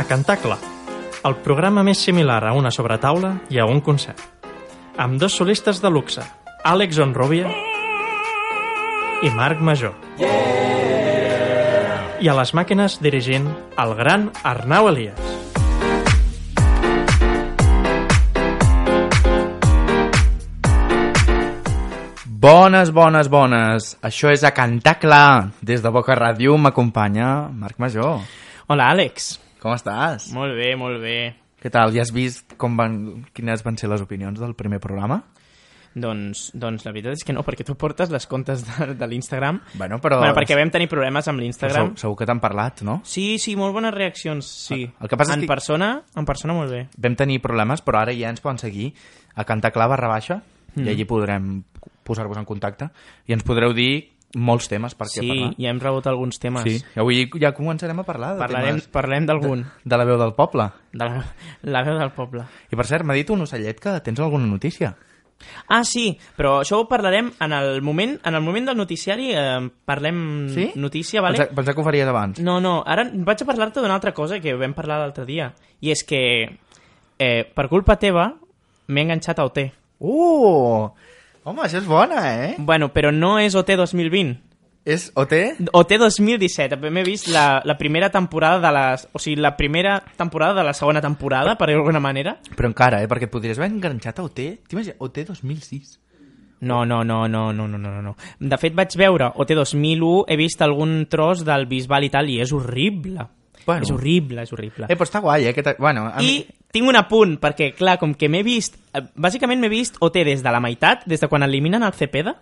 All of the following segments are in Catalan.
a Cantar Clar, el programa més similar a una sobretaula i a un concert. Amb dos solistes de luxe, Àlex Onrubia i Marc Major. I a les màquines dirigint el gran Arnau Elias. Bones, bones, bones. Això és a Cantar Clar. Des de Boca Ràdio m'acompanya Marc Major. Hola, Àlex. Com estàs? Molt bé, molt bé. Què tal? Ja has vist com van, quines van ser les opinions del primer programa? Doncs, doncs la veritat és que no, perquè tu portes les comptes de, de l'Instagram. Bueno, però- Bueno, perquè vam tenir problemes amb l'Instagram. Segur, segur que t'han parlat, no? Sí, sí, molt bones reaccions, sí. El que passa és en que- persona, en persona molt bé. Vam tenir problemes, però ara ja ens poden seguir a Cantar Clar barra baixa Mm. i allí podrem posar-vos en contacte i ens podreu dir molts temes per què Sí, parlar. ja hem rebut alguns temes. Sí, i avui ja començarem a parlar de Parlarem, temes parlem d'algun, de la veu del poble. de la, la veu del poble. I per cert, m'ha dit un ocellet que tens alguna notícia. Ah, sí, però això ho parlarem en el moment, en el moment del noticiari, eh, parlem Sí? notícia, vale? Mm. Pensa, pensava que ho faries abans. No, no, ara vaig a parlar-te d'una altra cosa que vam parlar l'altre dia. I és que, eh, per culpa teva, m'he enganxat a OT. Uh! Home, això és bona, eh? Bueno, però no és OT 2020. És OT? OT 2017. M'he vist la, la primera temporada de les... O sigui, la primera temporada de la segona temporada, per dir d'alguna manera. Però encara, eh? Perquè et podries haver enganxat a OT. T'imagines? OT 2006. No, no, no, no, no, no, no, no, no. De fet, vaig veure OT 2001, he vist algun tros del Bisbal i tal, i és horrible. Bueno. És horrible, és horrible. Eh, però està guai, eh? Aquest... Bueno, a I tinc un apunt, perquè, clar, com que m'he vist... eh, Bàsicament m'he vist OT des de la meitat, des de quan eliminen el Cepeda,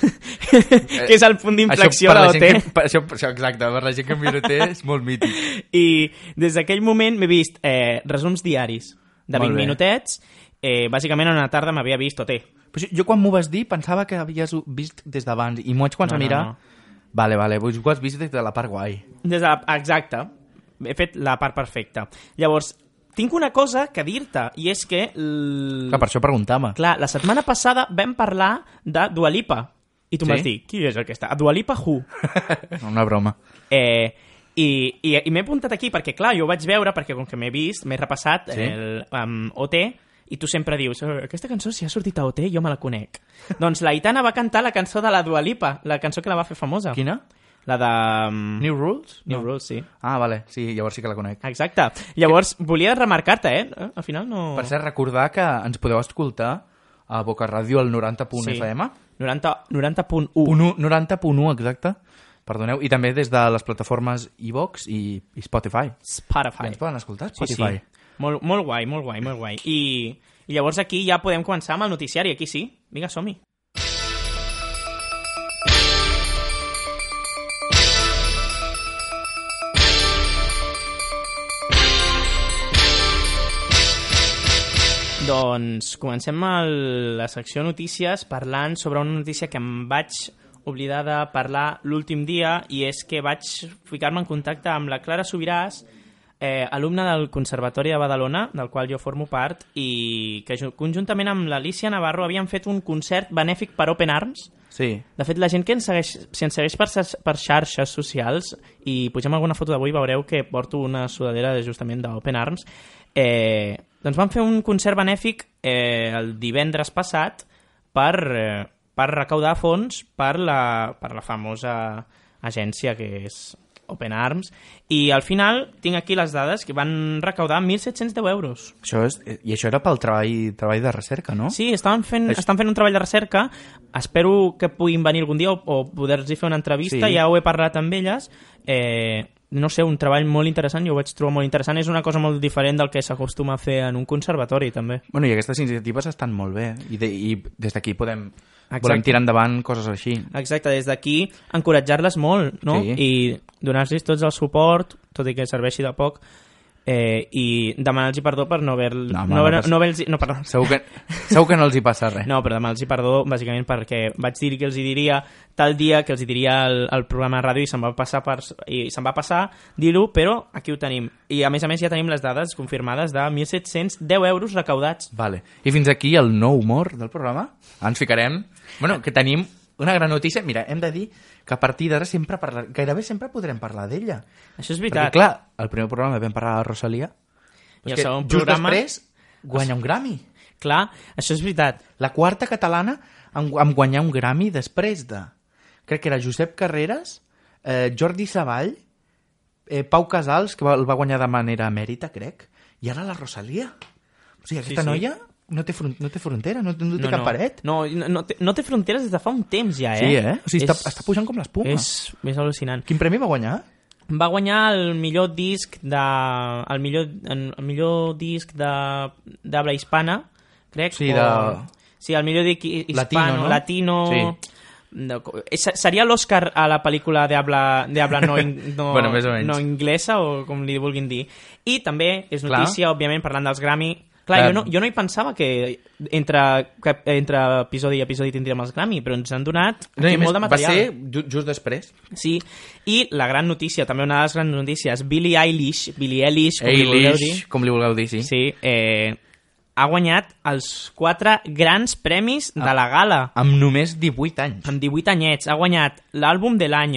que és el punt d'inflexió per de la OT. gent que, per això, per això, exacte, per la gent que mira OT és molt mític. I des d'aquell moment m'he vist eh, resums diaris de Molt 20 bé. minutets. Eh, bàsicament, una tarda m'havia vist OT. Però jo- jo quan m'ho vas dir pensava que havies ho vist des d'abans i m'ho vaig començar a No, no, mirar. no. Vale, vale, doncs ho has vist des de la part guai. Des de la, exacte. He fet la part perfecta. Llavors, tinc una cosa que dir-te, i és que... l- Clar, Ah, per això preguntava. Clar, la setmana passada vam parlar de Dua Lipa. I tu Sí? m'has dit, qui és aquesta? Dua Lipa Who? Una broma. Eh, i, i, i m'he apuntat aquí perquè, clar, jo ho vaig veure, perquè com que m'he vist, m'he repassat Sí. sí. el um, OT, i tu sempre dius, "Eh, aquesta cançó si ha sortit a OT, jo me la conec. doncs la Itana va cantar la cançó de la Dua Lipa, la cançó que la va fer famosa. Quina? La de... Um, New Rules? New Rules, sí. Ah, vale, sí, llavors sí que la conec. Exacte. Llavors, volia remarcar-te, eh? Eh, Al final no... Per cert, recordar que ens podeu escoltar a Boca Ràdio al 90.1 Sí. FM. 90 90.1. 1, 90.1, exacte. Perdoneu. I també des de les plataformes iVox i, i Spotify. Spotify. Ens poden escoltar a Sí, sí. Spotify. Molt, molt guai, molt guai, molt guai. I, I llavors aquí ja podem començar amb el noticiari, aquí sí. Vinga, som-hi. Doncs comencem el, la secció notícies parlant sobre una notícia que em vaig oblidar de parlar l'últim dia i és que vaig ficar-me en contacte amb la Clara Subiràs, eh, alumna del Conservatori de Badalona, del qual jo formo part, i que ju- conjuntament amb l'Alicia Navarro havien fet un concert benèfic per Open Arms. Sí. De fet, la gent que ens segueix, si ens segueix per, ses- per xarxes socials i pugem alguna foto d'avui, veureu que porto una sudadera de- justament d'Open Arms. Eh, doncs van fer un concert benèfic eh, el divendres passat per, eh, per recaudar fons per la, per la famosa agència que és Open Arms i al final tinc aquí les dades que van recaudar 1.710 euros. Això és, I això era pel treball, treball de recerca, no? Sí, estaven fent, Això- estan fent un treball de recerca. Espero que puguin venir algun dia o, o poder-los fer una entrevista. Sí. Sí. Ja ho he parlat amb elles. Eh, no sé, un treball molt interessant, jo ho vaig trobar molt interessant. És una cosa molt diferent del que s'acostuma a fer en un conservatori, també. Bueno, i aquestes iniciatives estan molt bé. I, de, i des d'aquí podem... Exacte. Volem tirar endavant coses així. Exacte, des d'aquí encoratjar-les molt, no? Sí. I donar-los tots el suport, tot i que serveixi de poc, eh, i demanar-los perdó per no haver... No, home, no No, no, haver, passa- no, haver no, perdó. Segur que, segur que no els hi passa res. No, però demanar-los perdó, bàsicament, perquè vaig dir que els hi diria tal dia que els hi diria el, el programa de ràdio i se'n va passar, per, i se'n va passar dir-ho, però aquí ho tenim. I a més a més ja tenim les dades confirmades de 1.710 euros recaudats. Vale. I fins aquí el nou humor del programa. Ens ficarem... Bueno, que tenim una gran notícia. Mira, hem de dir que a partir d'ara sempre parlar, gairebé sempre podrem parlar d'ella. Això és Perquè, veritat. clar, el primer programa vam parlar de la Rosalia. I el que segon just programa- després guanya un Grammy. clar, això és veritat. La quarta catalana en, en guanyar un Grammy després de... Crec que era Josep Carreras, eh, Jordi Savall, eh, Pau Casals, que va, el va guanyar de manera emèrita, crec, i ara la Rosalia. O sigui, aquesta sí, sí. sí. noia no té, front, no té frontera, no, no té no, cap no. paret. No, no, no, té, no té fronteres des de fa un temps ja, eh? Sí, eh? O sigui, és, està, està pujant com l'espuma. És, és al·lucinant. Quin premi va guanyar? Va guanyar el millor disc de... El millor, el millor disc de d'habla hispana, crec. Sí, o- de- Sí, el millor disc hi- Latino, hispano, no? latino... Sí. No, co- eh, se- seria l'Oscar a la pel·lícula de habla, de habla no, in- no, Bueno, més o menys. no inglesa o com li vulguin dir i també és Clar. notícia, òbviament, parlant dels Grammy clar, Clar. jo no, jo no hi pensava que entre, que entre episodi i episodi tindríem els Grammy, però ens han donat No, i aquí a més, molt de va material ser ju just després. Sí, i la gran notícia, també una de les grans notícies, Billie Eilish, Billie Eilish, com li voleu dir, com li vulgueu dir, sí. sí, eh, ha guanyat els quatre grans premis de la gala, Amb només 18 anys. amb 18 anyets. Ha guanyat l'àlbum de l'any,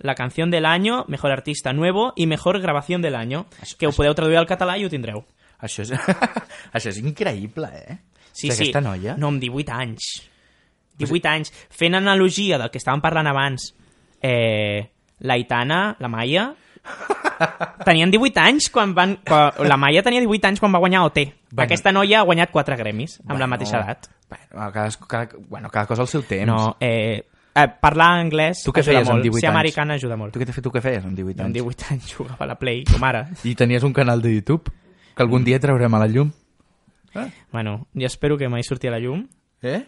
la canció de l'any, Mejor Artista Nuevo i Mejor Grabació de l'any, que ho podeu traduir al català i ho tindreu. Això és, això és increïble, eh? Sí, o sigui, sí. Aquesta noia... eh, No, amb 18 anys. 18 anys. Fent analogia del que estàvem parlant abans, eh, la Itana, la Maia, tenien 18 anys quan van... Quan, la Maia tenia 18 anys quan va guanyar OT. Bueno. Bueno, Aquesta noia ha guanyat 4 gremis, amb bueno, la mateixa edat. Bueno, cada, cada, bueno, cada cosa al seu temps. No, eh, eh, parlar anglès Tu què ajuda feies amb molt. 18 Ser anys? americana ajuda molt. Tu què, t'he fet- tu què feies amb 18 Jo amb anys? 18 anys jugava a la Play, com ara. I tenies un canal de YouTube que algun dia traurem a la llum. Bueno, ja espero que mai surti a la llum, Ah, Eh?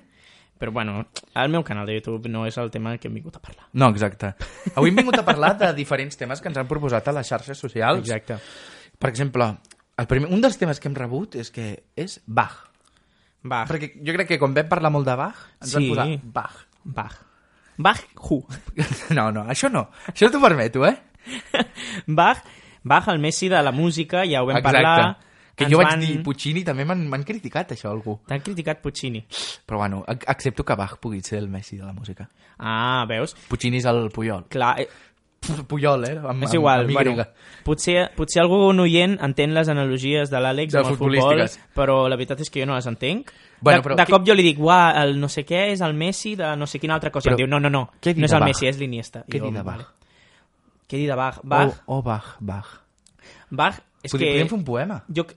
però bueno, el meu canal de YouTube no és el tema que hem vingut a parlar. No, exacte. Avui hem vingut a parlar de diferents temes que ens han proposat a les xarxes socials. Exacte. Per exemple, el primer, un dels temes que hem rebut és que és Bach. Va. Perquè jo crec que quan vam parlar molt de Bach, ens Ah. Sí. van posar Bach. Bach. Bach who? No, no, això no. Això t'ho permeto, eh? Bach, Bach, el Messi de la música, ja ho vam parlar. Que Ens jo vaig van- dir Puccini, també m'han m'han criticat això algú. T'han criticat Puccini. Però bueno, ac- accepto que Bach pugui ser el Messi de la música. Ah, veus? Puccini és el Puyol. Clar, eh, Puyol, eh? Amb, és igual. amb, amb bueno, Y. potser, potser algun oient entén les analogies de l'Àlex De amb el futbol, futbolístiques. però la veritat és que jo no les entenc. Bueno, de, però de què- cop jo li dic, uah, el no sé què és el Messi de no sé quina altra cosa. Però Però, em diu, no, no, no, què dir no és de el Bach? Messi, és l'Iniesta. I Què jo, dir de vale. Bach? Què dir de Bach? Bach, Oh, oh, Bach, Bach. Bach és Podríem, que... podríem fer un poema. Jo... que-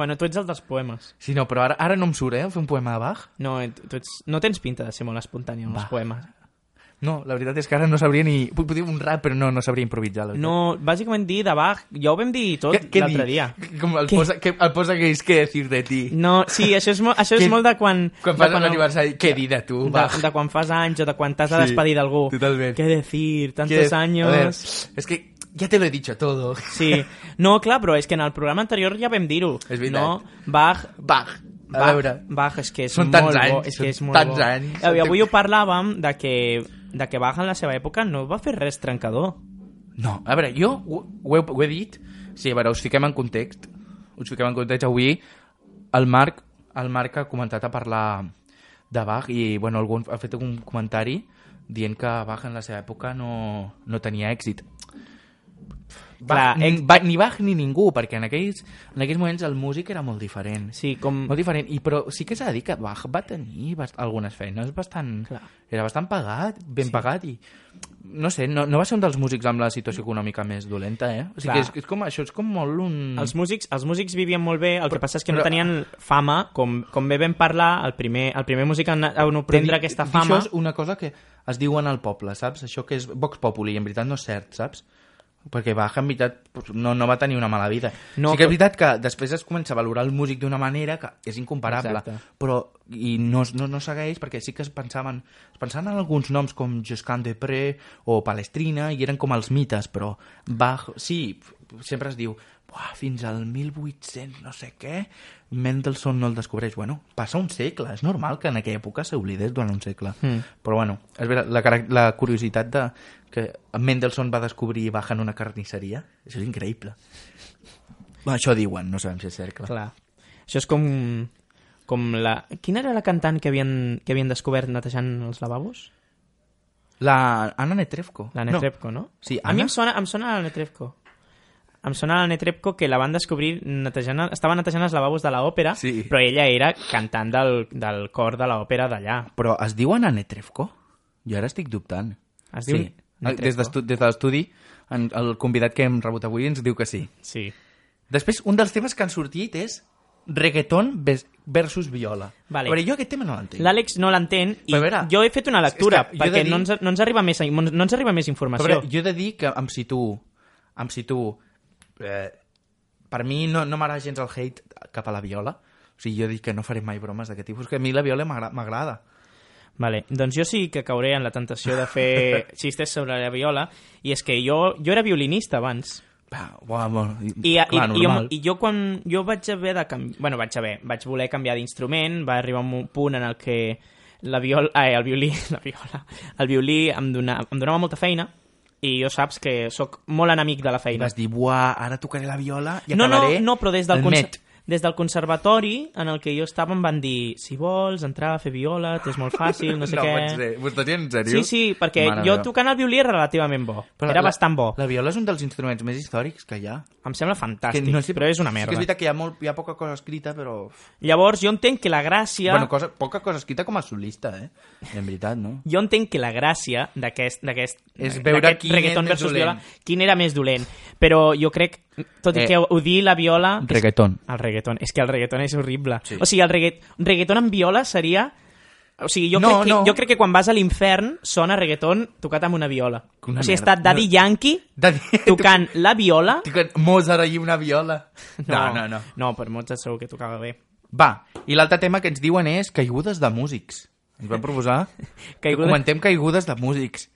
Bueno, tu ets el dels poemes. Sí, no, però ara, ara no em surt, eh? Fer un poema de Bach. No, et- tu ets, no tens pinta de ser molt espontani amb els Va. poemes. No, la veritat és que ara no sabria ni... Puc dir un rap, però no, no sabria improvisar. La veritat. No, bàsicament dir de Bach, ja ho vam dir tot Què- què l'altre dir? dia. Com el Què? posa, que, el posa que és que decir de ti. No, sí, això és, mo això és Què- molt de quan... Quan de fas l'aniversari, què dir de tu, De, Bach? de quan fas anys o de quan t'has de Sí, despedir d'algú. totalment. Què decir, Que- tantos a ver, años... Es que ya te lo he dicho todo. Sí, no, clar, però és que en el programa anterior ja vam dir-ho. És veritat. No, Bach, Bach. A Bach, veure. Bach és que és Són molt tants anys, bo. És que és són molt tants bo. anys. Avui, avui ho parlàvem de que, de que Bach en la seva època no va fer res trencador. No, a veure, jo ho, ho, he, ho he dit. Sí, a veure, us fiquem en context. Us fiquem en context avui. El Marc, el Marc ha comentat a parlar de Bach i, bueno, algun, ha fet un comentari dient que Bach en la seva època no, no tenia èxit. Bach, Clar, Clar, ex- Bach, ni Bach ni ningú, perquè en aquells, en aquells moments el músic era molt diferent. Sí, com... Molt diferent, i però sí que s'ha de dir que Bach va tenir bast algunes feines bastant... Clar. Era bastant pagat, ben sí. pagat, i no sé, no, no va ser un dels músics amb la situació econòmica més dolenta, eh? O sigui, Clar. que és, és com, això és com molt un... Els músics, els músics vivien molt bé, el que passa és que no Mm. però- tenien fama, com, com bé vam parlar, el primer, el primer músic en, en obtindre Dir- aquesta dir fama... Això és una cosa que es diuen al poble, saps? Això que és Vox Populi, en veritat no és cert, saps? Perquè Bach, en veritat, doncs, no, no va tenir una mala vida. No, No, sí que però- és veritat que després es comença a valorar el músic d'una manera que és incomparable, Exacte. però i no, es- no, no segueix perquè sí que es pensaven, es pensaven en alguns noms com Josquin de Pré o Palestrina i eren com els mites, però Bach, sí, f- sempre es diu "Buah, fins al 1800 no sé què, Mendelssohn no el descobreix. Bueno, passa un segle, és normal que en aquella època s'oblidés durant un segle. Mm. Però bueno, és vera, la, carac- la curiositat de que Mendelssohn va descobrir Bach en una carnisseria, això és increïble. Bueno, això diuen, no sabem si és cert, clar. Clar. Això és com, com la... Quina era la cantant que havien, que havien descobert netejant els lavabos? La Anna Netrebko. La Netrepko, no? no? Sí, A Anna? mi em sona, em sona la Netrepko. Em sona la Netrepko que la van descobrir netejant... Estava netejant els lavabos de l'òpera, Sí. però ella era cantant del, del cor de l'òpera d'allà. No. Però es diu Anna Netrebko? Jo ara estic dubtant. Es diu sí. Ah, Eh, Netrebko? Des d'estu- des de l'estudi, en- el convidat que hem rebut avui ens diu que sí. Sí. Després, un dels temes que han sortit és reggaeton ves- versus viola. Vale. A veure, jo aquest tema no l'entenc. L'Àlex no l'entén i Però a veure, jo he fet una és lectura que jo he de perquè dir- no, ens, no, ens arriba més, no ens arriba més informació. Però jo he de dir que em situo... Em situo... Eh, per mi no, no m'agrada gens el hate cap a la viola. O sigui, jo dic que no faré mai bromes d'aquest tipus, que a mi la viola m'agra- m'agrada. Vale, doncs jo sí que cauré en la tentació de fer xistes sobre la viola, i és que jo, jo era violinista abans, Va, uau, uau, i, clar, i, i, jo, normal. i jo quan jo vaig haver de canviar, bueno, vaig haver, vaig voler canviar d'instrument, va arribar un punt en el que la viola, eh, el violí, la viola, el violí em, dona, em donava molta feina, i jo saps que sóc molt enemic de la I feina. vas dir, buah, ara tocaré la viola i no, no, acabaré no, però des del, el conser- Met. des del conservatori en el que jo estava em van dir si vols entrar a fer viola, t'és molt fàcil, no sé no què... pot ser. Ho estàs dient en sèrio? Sí, sí, perquè Mare jo meva. tocant el violí era relativament bo. Però era la- bastant bo. La viola és un dels instruments més històrics que hi ha. Em sembla fantàstic, Que no però és una sí merda. Que és veritat que hi ha, molt, hi ha poca cosa escrita, però... Llavors, jo entenc que la gràcia... Bueno, cosa, poca cosa escrita com a solista, eh? En veritat, no? Jo entenc que la gràcia d'aquest d'aquest- És d'aquest veure quin reggaeton és més versus dolent. viola, quin era més dolent. Però jo crec, tot i Eh, que odiï la viola... que és- Reggaeton. El reggaeton. És que el reggaeton és horrible. Sí. O sigui, el reggaet... un reggaeton amb viola seria... O sigui, jo, No, crec que, no. jo crec que quan vas a l'infern sona reggaeton tocat amb una viola. Una o sigui, merda. està Daddy No. Yankee De dir- tocant la viola... Tocant Mozart i una viola. No, no, no. No, per Mozart segur que tocava bé. Va, i l'altre tema que ens diuen és caigudes de músics. Ens van proposar que Caigudes- comentem caigudes de músics.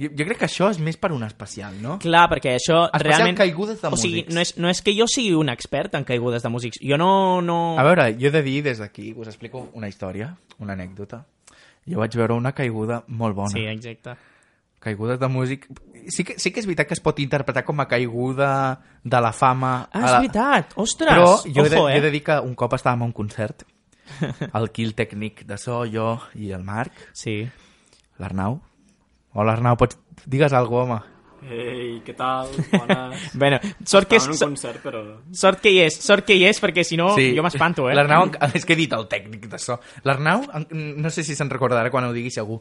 Jo, jo crec que això és més per un especial, no? Clar, perquè això Especial realment... caigudes de o sigui, músics. no és, no és que jo sigui un expert en caigudes de músics. Jo no... no... A veure, jo he de dir des d'aquí, us explico una història, una anècdota. Jo vaig veure una caiguda molt bona. Sí, exacte. Caigudes de músic... Sí que, sí que és veritat que es pot interpretar com a caiguda de la fama... Ah, a és la... veritat! Ostres! Però jo, he de, Ojo, jo eh? he de dir que un cop estàvem a un concert, el Kill Tècnic de so, jo i el Marc, Sí. l'Arnau. Hola, Arnau, pots... digues alguna cosa, Ei, què tal? Bones. Bueno, sort que, Estava en un és, concert, però... sort que hi és, sort que hi és, perquè si no home. jo m'espanto, eh? L'Arnau, enc- és que he dit el tècnic de so. L'Arnau, en- no sé si se'n recordarà quan ho digui segur,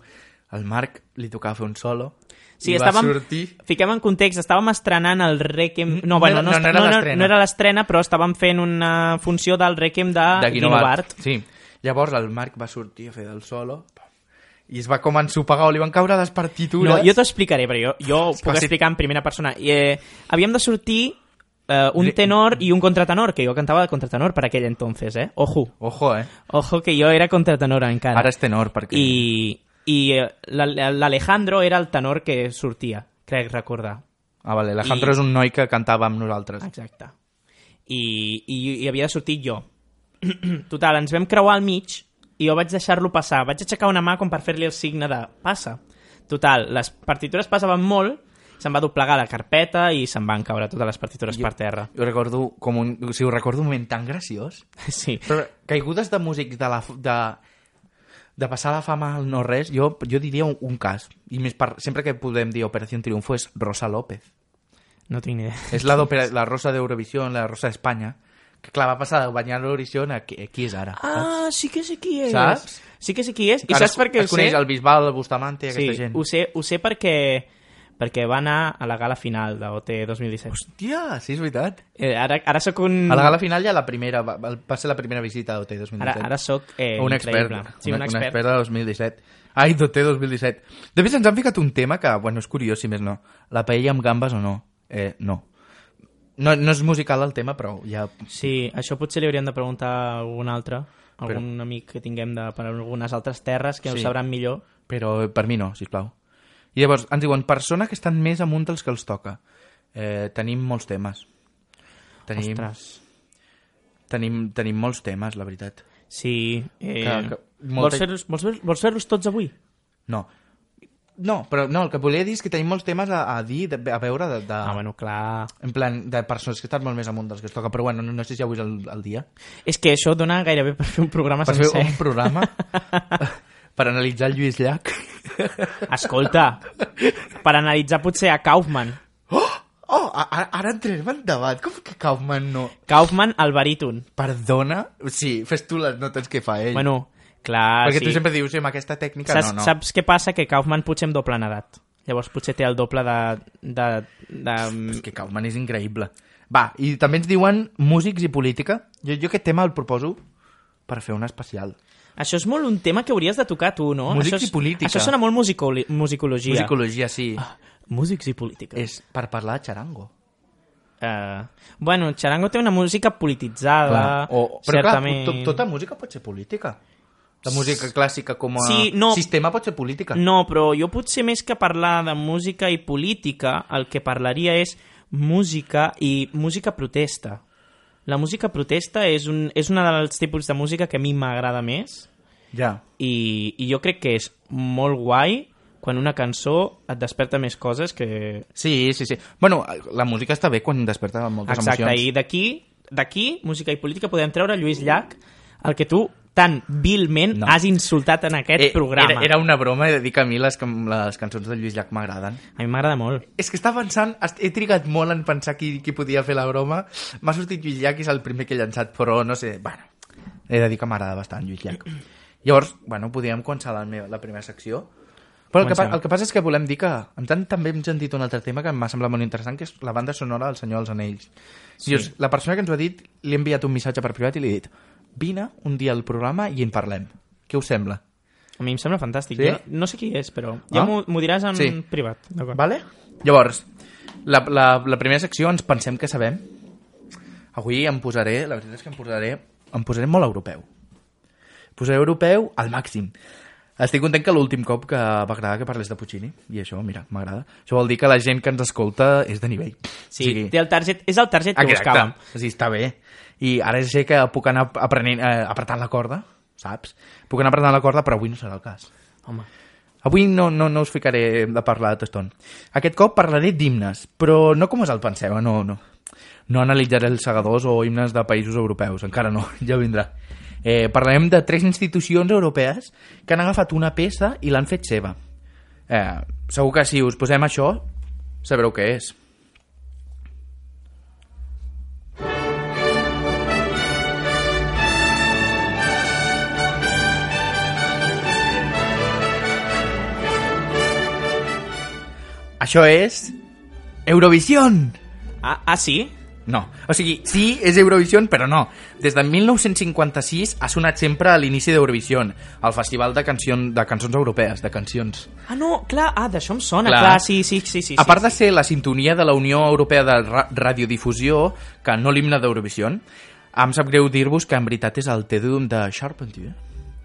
el Marc li tocava fer un solo Sí, i estàvem... va sortir... Fiquem en context, estàvem estrenant el Requiem... No, no bueno, era- no, Mm, no, no est- era no, l'estrena. no era l'estrena, però estàvem fent una funció del Requiem de, de Guinovart. Guinovart. Sí. Llavors el Marc va sortir a fer del solo pam, i es va com ensopegar o li van caure les partitures. No, jo t'ho explicaré, però jo, jo ho que puc va ser- explicar en primera persona. I, eh, havíem de sortir eh, un tenor i un contratenor, que jo cantava de contratenor per aquell entonces, eh? Ojo, Ojo, eh? ojo que jo era contratenor encara. Ara és tenor, perquè... I, i eh, l'Al- l'Alejandro era el tenor que sortia, crec recordar. Ah, vale, Alejandro I... i- és un noi que cantava amb nosaltres. Exacte. I, i, i havia de sortir jo. Total, ens vam creuar al mig i jo vaig deixar-lo passar. Vaig aixecar una mà com per fer-li el signe de passa. Total, les partitures passaven molt, se'n va doblegar la carpeta i se'n van caure totes les partitures per terra. Jo recordo com un... O sigui, ho recordo un moment tan graciós. Sí. Però caigudes de músics de la... f- De, de passar la fama al no res, jo, jo diria un, un cas. I més per, sempre que podem dir Operación Triunfo és Rosa López. No tinc ni idea. És la, d'Opera- la Rosa d'Eurovisión, la Rosa d'Espanya, que clar, va passar de guanyar l'Eurovisión a qui, a qui és ara. Ah, sí que sé qui és. Saps? Sí que sé qui és. I Ara saps per què es ho sé? coneix el Bisbal, el Bustamante i aquesta sí, gent. ho sé, ho sé perquè, perquè va anar a la gala final de OT 2017. Hòstia, sí, és veritat. Eh, ara, ara sóc un... A la gala final ja la primera, va, va ser la primera visita d'OT 2017. Ara, ara sóc eh, un expert, increïble. Sí, un, expert. de 2017. Ai, d'OT 2017. Després ens han ficat un tema que, bueno, és curiós, si més no. La paella amb gambes o no? Eh, no. No, no és musical el tema, però ja... Sí, això potser li hauríem de preguntar a algun altre, algun amic que tinguem de, per algunes altres terres que Sí. ho sabran millor. Però per mi no, si plau. I llavors ens diuen, persona que estan més amunt dels que els toca. Eh, tenim molts temes. Tenim, Ostres. tenim, tenim molts temes, la veritat. Sí. Eh... Que- que molta- Vols fer-los vols fer vols fer tots avui? No. No, però no, el que volia dir és que tenim molts temes a, a dir, de, a veure, de, de, Ah, bueno, clar... en plan, de persones que estan molt més amunt dels que es toca, però bueno, no, no sé si avui és el, el dia. És que això dona gairebé per fer un programa Per fer sencer. un programa per analitzar el Lluís Llach. Escolta, per analitzar potser a Kaufman. Oh! Oh, a- a- ara entrem en debat. Com que Kaufman no... Kaufman, el baríton. Perdona? Sí, fes tu les notes que fa ell. Bueno, clar, Perquè sí. tu sempre dius, ah, sí, amb aquesta tècnica saps, no, no. saps què passa? Que Kaufman potser amb doble edat. Llavors potser té el doble de... de, de... És que Kaufman és increïble. Va, i també ens diuen músics i política. Jo, jo aquest tema el proposo per fer un especial. Això és molt un tema que hauries de tocar tu, no? Músics això és, i política. Això sona molt musicoli, musicologia. Musicologia, sí. ah. Músics i política. És per parlar de xarango. Eh, bueno, Charango té una música polititzada, O, però certament... clar, to- tota música pot ser política. La música clàssica com a Sí, no. sistema pot ser política. No, però jo potser més que parlar de música i política, el que parlaria és música i música protesta. La música protesta és, un, és una dels tipus de música que a mi m'agrada més Ja. i, i jo crec que és molt guai quan una cançó et desperta més coses que... Sí, sí, sí. Bueno, la música està bé quan desperta moltes Exacte, emocions. i d'aquí, d'aquí, música i política, podem treure Lluís Llach, el que tu tan vilment No. no. has insultat en aquest Eh, programa. Era, era una broma i dir que a mi les, can- les cançons de Lluís Llach m'agraden. A mi m'agrada molt. És que estava pensant, est- he trigat molt en pensar qui, qui podia fer la broma. M'ha sortit Lluís Llach, és el primer que he llançat, però no sé, bueno, he de dir que m'agrada bastant Lluís Llach. Llavors, bueno, podíem començar la, meva, la primera secció. Però el que, pa- Comencem. el que passa és que volem dir que en tant també hem sentit un altre tema que m'ha semblat molt interessant, que és la banda sonora del Senyor dels Anells. Sí. Dius, la persona que ens ho ha dit, li he enviat un missatge per privat i li he dit vine un dia al programa i en parlem. Què us sembla? A mi em sembla fantàstic. Sí? Sí? Jo no sé qui és, però ja Ah? m'ho m'ho diràs en Sí. sí. privat. D'acord. Vale? Llavors, la, la, la primera secció ens pensem que sabem. Avui em posaré, la veritat és que em posaré, em posaré molt europeu. Posaré europeu al màxim. Estic content que l'últim cop que va agradar que parlés de Puccini, i això, mira, m'agrada. Això vol dir que la gent que ens escolta és de nivell. Sí, sí. Té el target, és el target que buscàvem. Exacte. Sí, està bé. I ara sé que puc anar aprenent, eh, apretant la corda, saps? Puc anar apretant la corda, però avui no serà el cas. Home. Avui no, no, no us ficaré de parlar de Toston. Aquest cop parlaré d'himnes, però no com us el penseu, eh? no, no. No analitzaré els segadors o himnes de països europeus, encara no, ja vindrà. Eh, parlarem de tres institucions europees que han agafat una peça i l'han fet seva. Eh, segur que si us posem això, sabreu què és. Això és... Eurovision! Ah, ah, sí? No. O sigui, sí, és Eurovision, però no. Des de 1956 ha sonat sempre a l'inici d'Eurovision, al Festival de, cancion, de Cançons Europees, de cancions. Ah, no, clar, ah, d'això em sona, Clar. clar. clar, sí, sí, sí, sí. a part de ser la sintonia de la Unió Europea de Ra- Radiodifusió, que no l'himne d'Eurovision, em sap greu dir-vos que en veritat és el Tedum de Charpentier,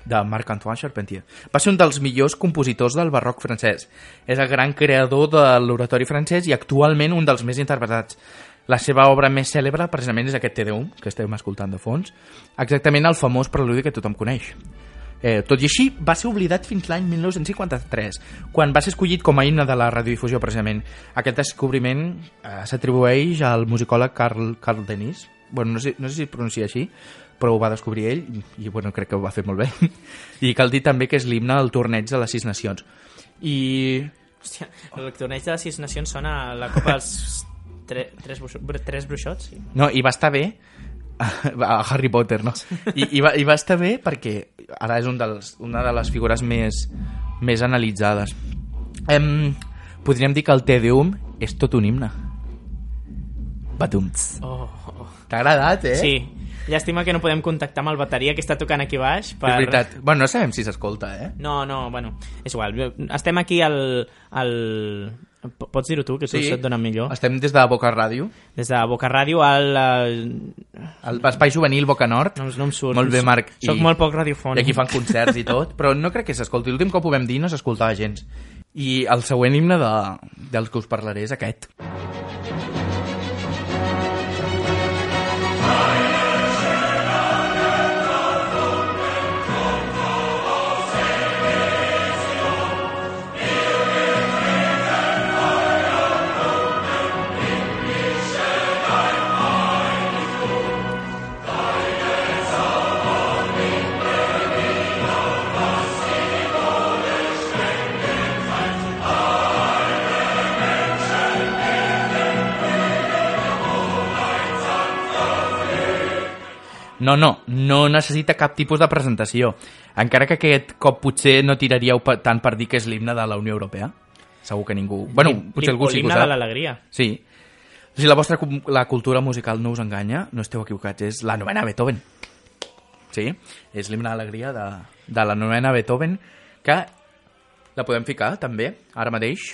de Marc-Antoine Charpentier. Va ser un dels millors compositors del barroc francès. És el gran creador de l'oratori francès i actualment un dels més interpretats. La seva obra més cèlebre precisament és aquest Tedeum, que estem escoltant de fons, exactament el famós preludi que tothom coneix. Eh, tot i així, va ser oblidat fins l'any 1953, quan va ser escollit com a himne de la radiodifusió, precisament. Aquest descobriment eh, s'atribueix al musicòleg Carl, Carl Denis, bueno, no, sé, no sé si es pronuncia així, però ho va descobrir ell, i bueno, crec que ho va fer molt bé. I cal dir també que és l'himne del torneig de les Sis Nacions. I Hòstia, el torneig de les sis nacions sona a la Copa dels tre, tres, bruixo- br- tres bruixots. Sí. No, i va estar bé a Harry Potter, no? I, i, va, I va estar bé perquè ara és un dels, una de les figures més, més analitzades. Em, podríem dir que el Tedeum és tot un himne. Batumts. Oh, oh. T'ha agradat, eh? Eh? Sí. Llàstima que no podem contactar amb el bateria que està tocant aquí baix. Per... És veritat. Bueno, no sabem si s'escolta, eh? No, no, bueno, és igual. Estem aquí al... al... P- Pots dir-ho tu, que tu et dona millor. Estem des de Boca Ràdio, Des de Boca Ràdio al... eh, el al... espai juvenil Boca Nord. No, no em surt. Molt bé, Marc. Soc I- molt poc I radiofònic. aquí fan concerts i tot, però no crec que s'escolti. L'últim cop ho vam dir i no s'escoltava gens. I el següent himne de, del que us parlaré és aquest. No, no, no necessita cap tipus de presentació. Encara que aquest cop potser no tiraríeu pe- tant per dir que és l'himne de la Unió Europea. Segur que ningú... Bueno, potser algú sí que ho L'himne de sap. l'alegria. Sí. Si la vostra cu- la cultura musical no us enganya, no esteu equivocats, és la novena Beethoven. Sí, és l'himne d'alegria de, de la novena Beethoven, que la podem ficar també, ara mateix.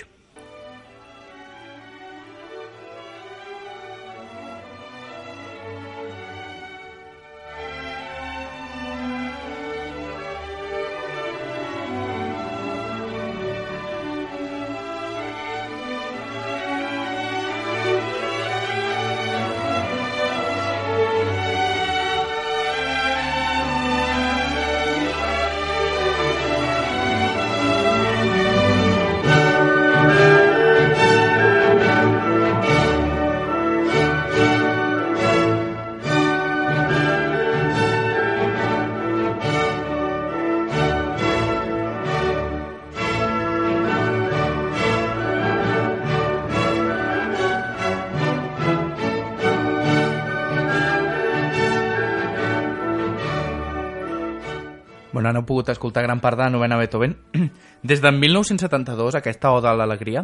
Bueno, no he pogut escoltar gran part de la novena Beethoven. Des de 1972, aquesta Oda a l'Alegria,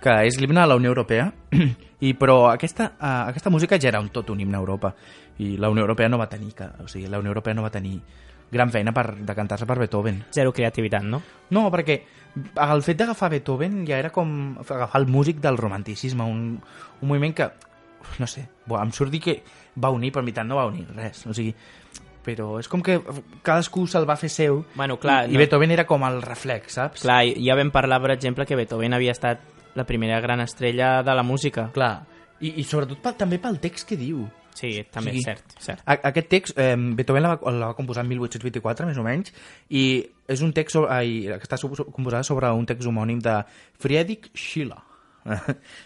que és l'himne de la Unió Europea, i però aquesta, uh, aquesta música ja era un tot un himne a Europa, i la Unió Europea no va tenir, que, o sigui, la Unió Europea no va tenir gran feina per decantar-se per Beethoven. Zero creativitat, no? No, perquè el fet d'agafar Beethoven ja era com agafar el músic del romanticisme, un, un moviment que, uf, no sé, bo, em surt dir que va unir, però en veritat no va unir res, o sigui, però és com que cadascú se'l va fer seu Bueno, clar, i, no- i Beethoven era com el reflex, saps? Clar, i- ja vam parlar, per exemple, que Beethoven havia estat la primera gran estrella de la música. Clar. I, i sobretot pel, també pel text que diu. Sí, també Sí. és cert. cert. A, aquest text, eh, Beethoven la va, la va composar en 1824, més o menys, i és un text sobre, ai, que està so- so- composada sobre un text homònim de Friedrich Schiller. no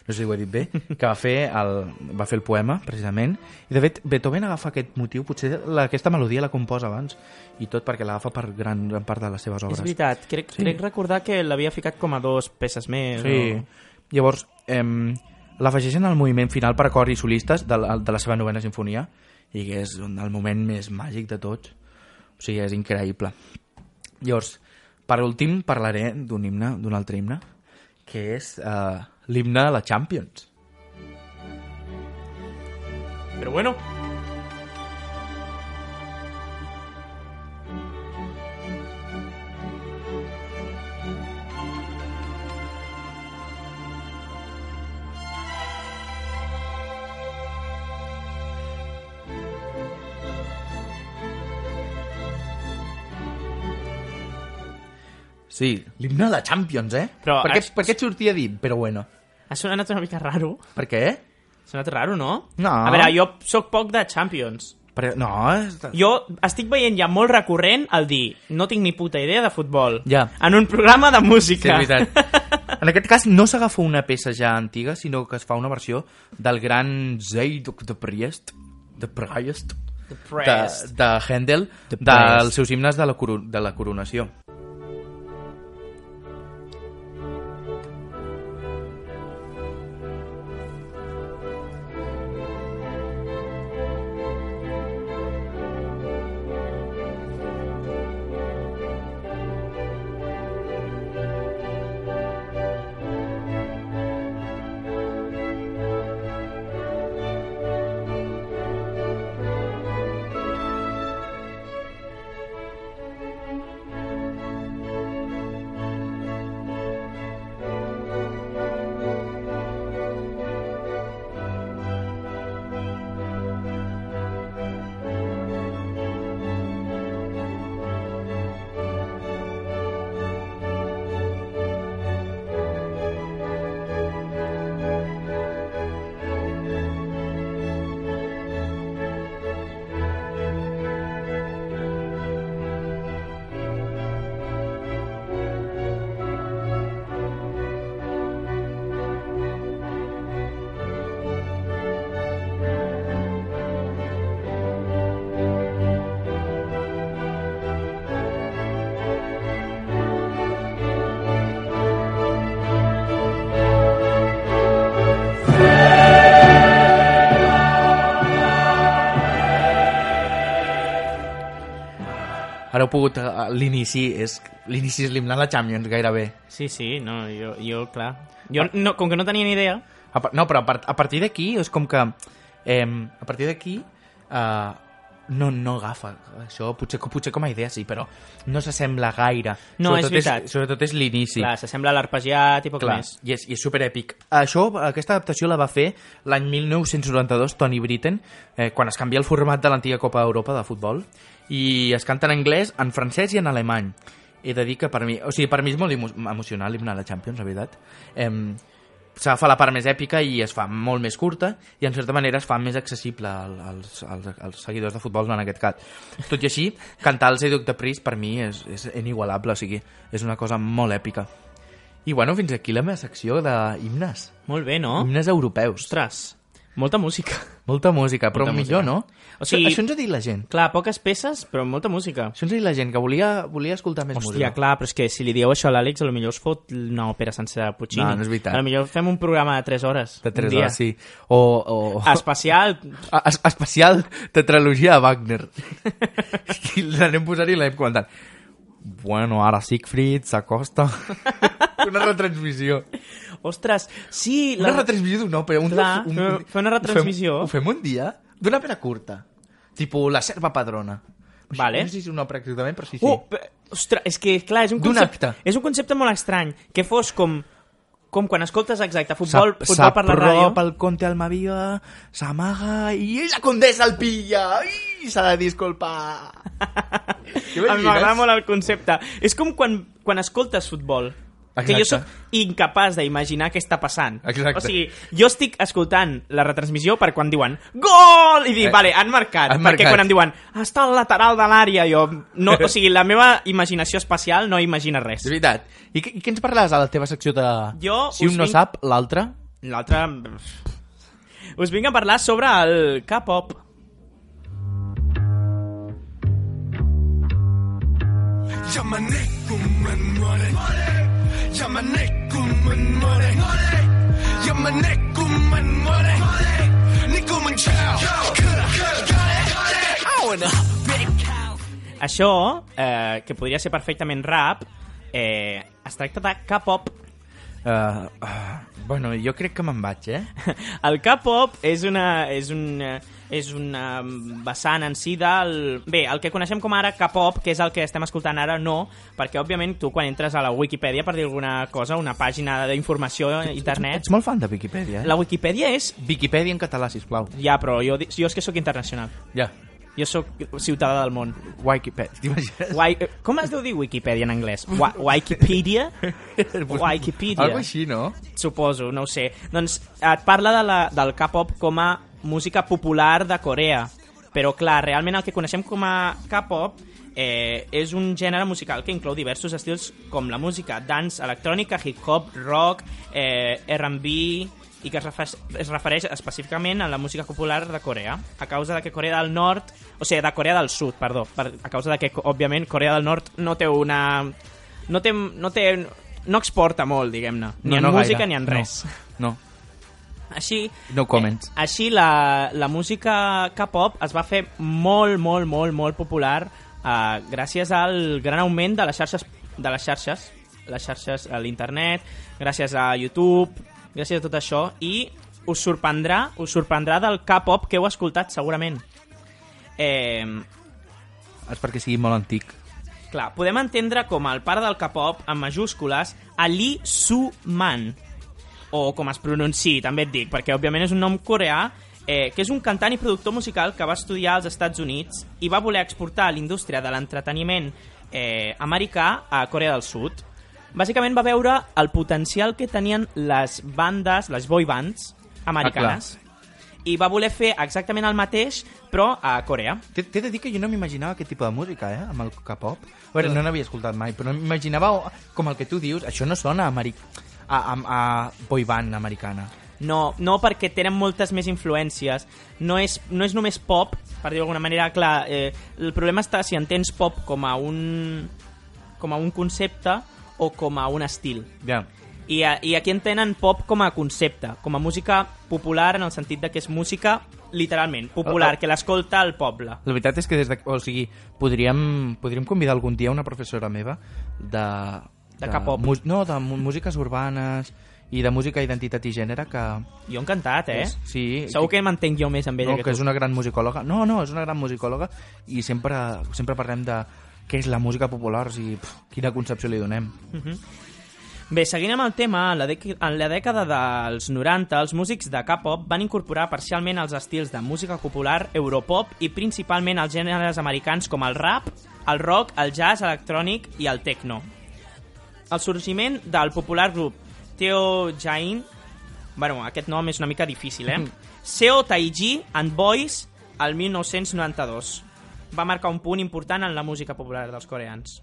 sé si ho he dit bé, que va fer el, va fer el poema, precisament. I, de fet, Beethoven agafa aquest motiu, potser la, aquesta melodia la composa abans, i tot perquè l'agafa per gran, gran part de les seves És obres. veritat, crec, sí. crec recordar que l'havia ficat com a dos peces més. Sí. O... Llavors, em, l'afegeixen al moviment final per a cor i solistes de la, de la seva novena sinfonia i que és un- el moment més màgic de tots. O sigui, és increïble. Llavors, per últim parlaré d'un himne, d'un altre himne, que és eh, l'himne de la Champions. Però bueno, Sí, l'himne de la Champions, eh? Però per, què, has- per què et sortia a dir? Però bueno, ha sonat una mica raro. per què? Ha sonat raro, no? No. A veure, jo sóc poc de Champions. Per... No, és- Jo estic veient ja molt recurrent el dir no tinc ni puta idea de futbol Ja. en un programa de Sí, música. és veritat. En aquest cas no s'agafa una peça ja antiga, sinó que es fa una versió del gran Zayduk de Priest, de Priest, The de, Press. de Handel, dels seus himnes de la, coro de la coronació. Ara heu pogut... eh, L'inici és... L'inici és l'himne a la Champions, gairebé. Sí, sí, no, jo, jo clar. Jo, no, com que no tenia ni idea, A, par- no, però a, part, a partir d'aquí és com que... Eh, a partir d'aquí... Eh, no, no agafa. Això potser, potser com a idea sí, però no s'assembla gaire. No, és sobretot veritat. És, sobretot és l'inici. sí. clar, s'assembla a l'arpegiat i poc Clar, més. i és, i és superèpic. Això, aquesta adaptació la va fer l'any 1992 Tony Britten, eh, quan es canvia el format de l'antiga Copa d'Europa de futbol, i es canta en anglès, en francès i en alemany. He de dir que per mi... O sigui, per mi és molt emo emocional l'himne a la Champions, la veritat. Em, s'agafa la part més èpica i es fa molt més curta i en certa manera es fa més accessible al- als, als, als seguidors de futbol en aquest cas. Tot i així, cantar el Seduc de Pris per mi és, és inigualable, o sigui, és una cosa molt èpica. I bueno, fins aquí la meva secció de himnes. Molt bé, no? Himnes europeus. Oh. Ostres, molta música. Molta música, però Molta millor, música. no? O sigui- Això, això ens ha dit la gent. Clar, poques peces, però molta música. Això ens ha dit la gent, que volia, volia escoltar més Hòstia, música. clar, però és que si li dieu això a l'Àlex, a lo millor es fot una òpera sencera de Puccini. No, no és veritat. A lo millor fem un programa de 3 hores. De un tres dia. hores, sí. O, o... Especial, A- es- especial tetralogia de Wagner. I l'anem posant i l'anem comentant. Bueno, ara Siegfried s'acosta. una retransmissió. Ostres, sí... Una retransmissió d'una òpera. Un, Clar, un, fer- fer una ho fem- retransmissió. Ho fem, un dia d'una òpera curta. Tipo La serva padrona. Vale. No sé si és una òpera exactament, però sí, sí. Oh, pe- ostres, és que, clar, és un, D'un concepte, acte. és un concepte molt estrany. Que fos com, com quan escoltes exacte futbol, futbol per la ràdio. S'apropa el conte Almaviva, s'amaga i la condessa el pilla. I s'ha de disculpar. Què A mi m'agrada molt el concepte. És com quan, quan escoltes futbol. Que Exacte. jo sóc incapaç d'imaginar què està passant. Exacte. O sigui, jo estic escoltant la retransmissió per quan diuen gol! I dic, Eh, vale, han marcat. han perquè marcat. quan em diuen està al lateral de l'àrea, jo... No, o sigui, la meva imaginació espacial no imagina res. És veritat. I, què- i què ens parlaràs a la teva secció de... Jo si us un no vinc- sap, l'altre... L'altre... Us vinc a parlar sobre el K-pop. Això, eh, que podria ser perfectament rap, eh, es tracta de K-pop. Uh, uh, bueno, jo crec que me'n vaig, eh? El K-pop és una... És una és una vessant en si del... Bé, el que coneixem com ara K-pop, que és el que estem escoltant ara, no, perquè, òbviament, tu quan entres a la Wikipedia per dir alguna cosa, una pàgina d'informació a internet... Ets molt fan de Viquipèdia, eh? La Wikipedia és... Viquipèdia en català, sisplau. Ja, però jo, di- jo és que sóc internacional. Ja. Jo sóc ciutadà del món. Wikipedia, t'imagines? Wai- eh, com es deu dir Wikipedia en anglès? Wa Wikipedia? Wikipedia. Algo així, no? Suposo, no ho sé. Doncs et parla de la, del K-pop com a música popular de Corea. Però, clar, realment el que coneixem com a K-pop eh, és un gènere musical que inclou diversos estils com la música, dans, electrònica, hip-hop, rock, eh, R&B i que es, refer es refereix específicament a la música popular de Corea, a causa de que Corea del Nord, o sigui, de Corea del Sud, perdó, per, a causa de que, co- òbviament, Corea del Nord no té una... no té... no, té, no exporta molt, diguem-ne, ni en música gaire. ni en res. No, no. Així, No comments. eh, així la, la música K-pop es va fer molt, molt, molt, molt popular eh, gràcies al gran augment de les xarxes, de les xarxes, les xarxes a l'internet, gràcies a YouTube, gràcies a tot això, i us sorprendrà, us sorprendrà del K-pop que heu escoltat segurament. Eh, És perquè sigui molt antic. Clar, podem entendre com el pare del K-pop, en majúscules, a Lee Su-man, o com es pronunciï, també et dic, perquè òbviament és un nom coreà, eh, que és un cantant i productor musical que va estudiar als Estats Units i va voler exportar l'indústria de l'entreteniment eh, americà a Corea del Sud. Bàsicament va veure el potencial que tenien les bandes, les boy bands americanes, i va voler fer exactament el mateix, però a Corea. T'he t'he de dir que jo no m'imaginava aquest tipus de música, eh? Amb el K-pop. A veure, no n'havia escoltat mai, però m'imaginava, oh, com el que tu dius, això no sona a, americ... a, a, a boy band americana. No, no perquè tenen moltes més influències. No és, no és només pop, per dir d'alguna manera, clar, eh, el problema està si entens pop com a un, com a un concepte o com a un estil. Ja. I, a, I aquí entenen pop com a concepte, com a música popular en el sentit de que és música literalment, popular, Oh, que l'escolta al poble. La veritat és que des de... O sigui, podríem, podríem convidar algun dia una professora meva de... De K-pop. mu- No, de mu- músiques urbanes i de música, identitat i gènere que... Jo encantat, eh? Sí, Segur que m'entenc jo més amb ella no, que, que tu. és una gran musicòloga. No, no, és una gran musicòloga i sempre, sempre parlem de què és la música popular, o sigui, pf, quina concepció li donem. Bé, seguint amb el tema, en la, dec en la dècada dels 90, els músics de K-pop van incorporar parcialment els estils de música popular, europop i principalment els gèneres americans com el rap, el rock, el jazz electrònic i el techno. El sorgiment del popular grup Teo Jain, bueno, aquest nom és una mica difícil, eh? Seo Taiji and Boys al 1992 va marcar un punt important en la música popular dels coreans.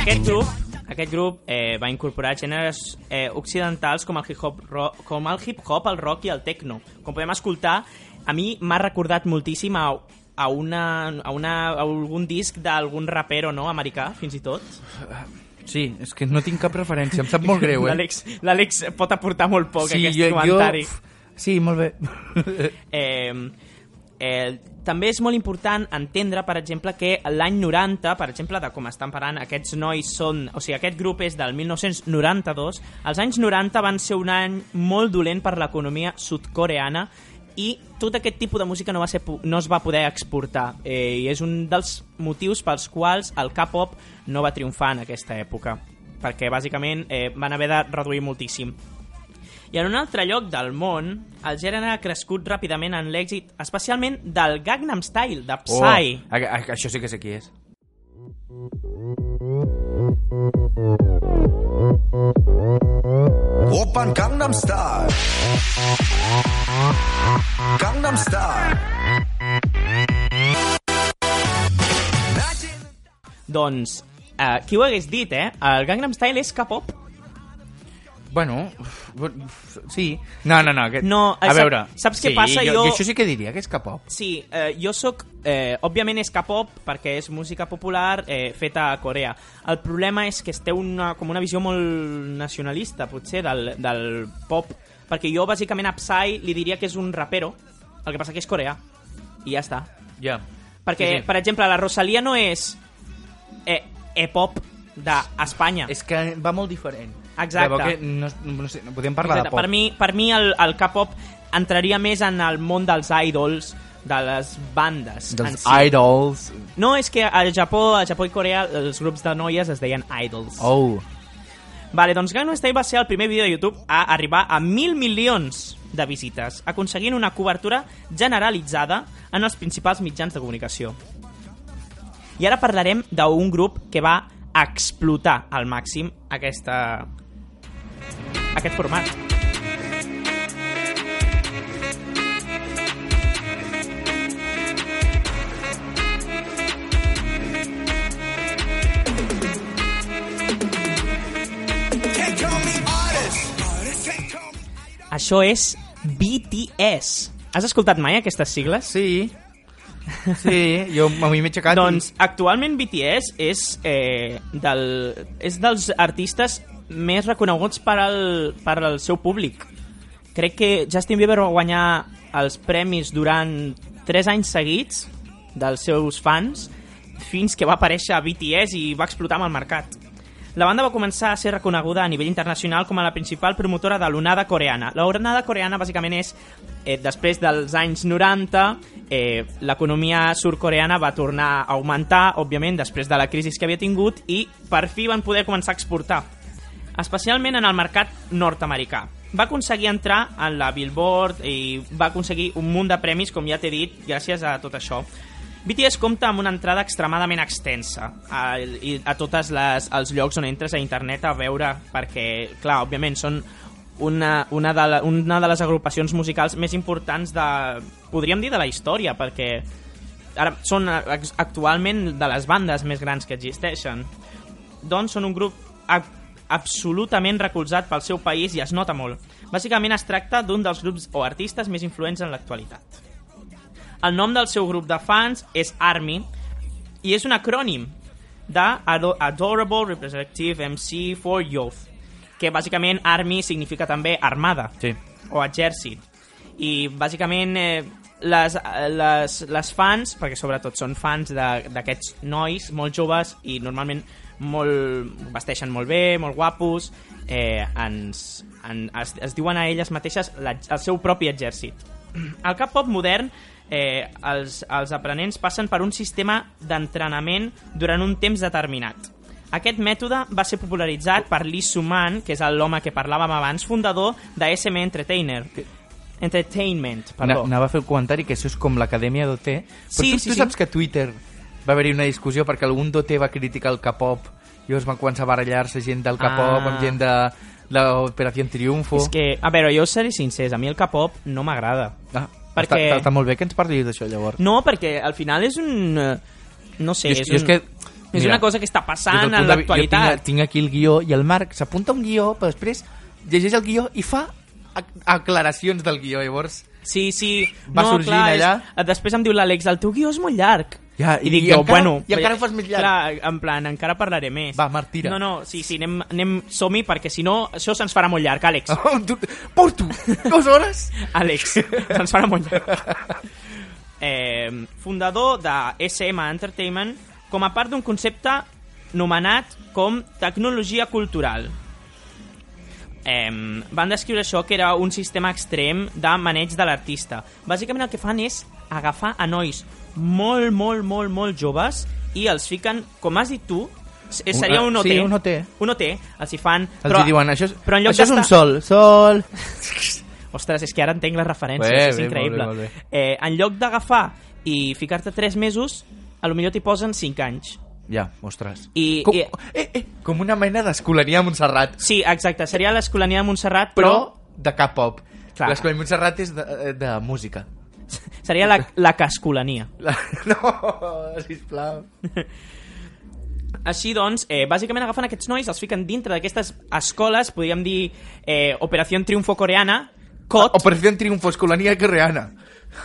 Aquest grup, aquest grup eh, va incorporar gèneres eh, occidentals com el hip-hop, ro- com el hip-hop, el rock i el techno. Com podem escoltar, a mi m'ha recordat moltíssim a, a, una, a, una, a algun disc d'algun rapero no, americà, fins i tot. Sí, és que no tinc cap referència, em sap molt greu, eh? L'Àlex L'Àlex pot aportar molt poc a sí, aquest comentari. pf, Sí, molt bé. Eh, eh, també és molt important entendre, per exemple, que l'any 90, per exemple, de com estan parant, aquests nois són... O sigui, aquest grup és del 1992. Els anys 90 van ser un any molt dolent per l'economia sudcoreana i tot aquest tipus de música no, va ser, po- no es va poder exportar. Eh, I és un dels motius pels quals el K-pop no va triomfar en aquesta època perquè bàsicament eh, van haver de reduir moltíssim. I en un altre lloc del món, el gènere ha crescut ràpidament en l'èxit, especialment del Gangnam Style, de Oh, Psy. a, a, això sí que sé qui és. 오빤 강남스타일 강남스타일 Doncs, eh, qui ho hagués dit, eh? El Gangnam Style és K-pop. Bueno, uf, uf, sí. No, no, no. Aquest... No, a sap- veure. saps què sí, passa? Jo, Jo- jo això sí que diria, que és K-pop. Sí, eh, jo sóc... Eh, òbviament és K-pop perquè és música popular eh, feta a Corea. El problema és que es té una, com una visió molt nacionalista, potser, del, del pop. Perquè jo, bàsicament, a Psy li diria que és un rapero, el que passa que és coreà. I ja està. Ja. Perquè, Sí, sí, sí. sí. per exemple, la Rosalia no és eh, e-pop d'Espanya. És que va molt diferent. Exacte. Veieu Que no, no sé, no podem parlar Exacte, de pop. Per mi, per mi el, el K-pop entraria més en el món dels idols, de les bandes. en Dels si. idols. No, és que al Japó, al Japó i Corea els grups de noies es deien idols. Oh. Vale, doncs Gangnam Style va ser el primer vídeo de YouTube a arribar a mil milions de visites, aconseguint una cobertura generalitzada en els principals mitjans de comunicació. I ara parlarem d'un grup que va explotar al màxim aquesta... aquest format. Can't call me artist Can't call me Això és BTS. Has escoltat mai aquestes sigles? Sí. Sí, jo a mi m'he aixecat. Doncs actualment BTS és, eh, del, és dels artistes més reconeguts per al, per al seu públic. Crec que Justin Bieber va guanyar els premis durant 3 anys seguits dels seus fans fins que va aparèixer a BTS i va explotar amb el mercat. La banda va començar a ser reconeguda a nivell internacional com a la principal promotora de l'onada coreana. L'onada coreana bàsicament és, eh, després dels anys 90, eh, l'economia surcoreana va tornar a augmentar, òbviament, després de la crisi que havia tingut, i per fi van poder començar a exportar, especialment en el mercat nord-americà. Va aconseguir entrar en la Billboard i va aconseguir un munt de premis, com ja t'he dit, gràcies a tot això. BTS compta amb una entrada extremadament extensa a, i a tots els llocs on entres a internet a veure, perquè, clar, òbviament, són una, una, de la, una de les agrupacions musicals més importants de... podríem dir de la història, perquè ara són eh, ex- actualment de les bandes més grans que existeixen. Doncs són un grup ab absolutament recolzat pel seu país i es nota molt. Bàsicament es tracta d'un dels grups o artistes més influents en l'actualitat. El nom del seu grup de fans és ARMY i és un acrònim de Ado- Adorable Representative MC for Youth, que bàsicament ARMY significa també armada Sí. o exèrcit. I bàsicament eh, les, eh, les, les fans, perquè sobretot són fans de- d'aquests nois molt joves i normalment molt, vesteixen molt bé, molt guapos, eh, ens, en, es, es diuen a elles mateixes la, el seu propi exèrcit. Al cap pop modern, eh, els, els aprenents passen per un sistema d'entrenament durant un temps determinat. Aquest mètode va ser popularitzat per Lee Suman, que és l'home que parlàvem abans, fundador de SM Entertainer. Entertainment, Perdó. perdó. Anava a fer el comentari que això és com l'acadèmia d'OT. Però Sí, tu, sí, tu sí. saps que a Twitter va haver-hi una discussió perquè algun d'OT va criticar el K-pop i llavors van començar a barallar-se gent del K-pop Ah. amb gent de l'Operació Triunfo. És que, a veure, jo seré sincers, a mi el K-pop no m'agrada. Ah, perquè- està, està, està molt bé que ens parlis d'això llavors. No, perquè al final és un... eh, No sé, Jo és- és, jo és un- que- és mira, una cosa que està Des passant del en punt de vi- Jo tinc, l'actualitat. tinc aquí el guió i el Marc s'apunta un guió, però després llegeix el guió i fa ac- aclaracions del guió, llavors... Sí, sí. Va no, sorgint clar, És... allà. eh, Després em diu l'Àlex, el teu guió és molt llarg. Ja, i- I, dic i jo, encara- bueno... i encara ho fas més llarg. Clar, en plan, encara parlaré més. Va, Marc, tira. No, no, sí, sí, anem, anem som-hi, perquè si no, això se'ns farà molt llarg, Àlex. Tu- Porto dues hores! Àlex, se'ns farà molt llarg. Eh, fundador de SM Entertainment com a part d'un concepte nomenat com tecnologia cultural. Eh, van descriure això que era un sistema extrem de maneig de l'artista. Bàsicament el que fan és agafar a nois molt, molt, molt, molt joves i els fiquen, com has dit tu, s- eh, seria un Un- OT. sí, un OT. Un OT. Els hi fan... Els hi diuen, això és, però en lloc això és un d'estar- sol, sol... Ostres, és que ara entenc les referències, Bé, és bé, increïble. molt bé, molt Eh, en lloc d'agafar i ficar-te 3 mesos, a lo millor t'hi posen 5 anys. Ja, ostres. I- com, i- eh, eh, com una mena d'escolania a Montserrat, Sí, exacte, seria l'escolania de Montserrat, però però, de K-pop. Clar. L'escolania a Montserrat és de, eh, de música. però... seria la, la cascolania. La... No, sisplau. Així doncs, eh, bàsicament agafen aquests nois, els fiquen dintre d'aquestes escoles, podríem dir eh, Operació Triunfo Coreana, COT, Operació Triunfo, escolania coreana.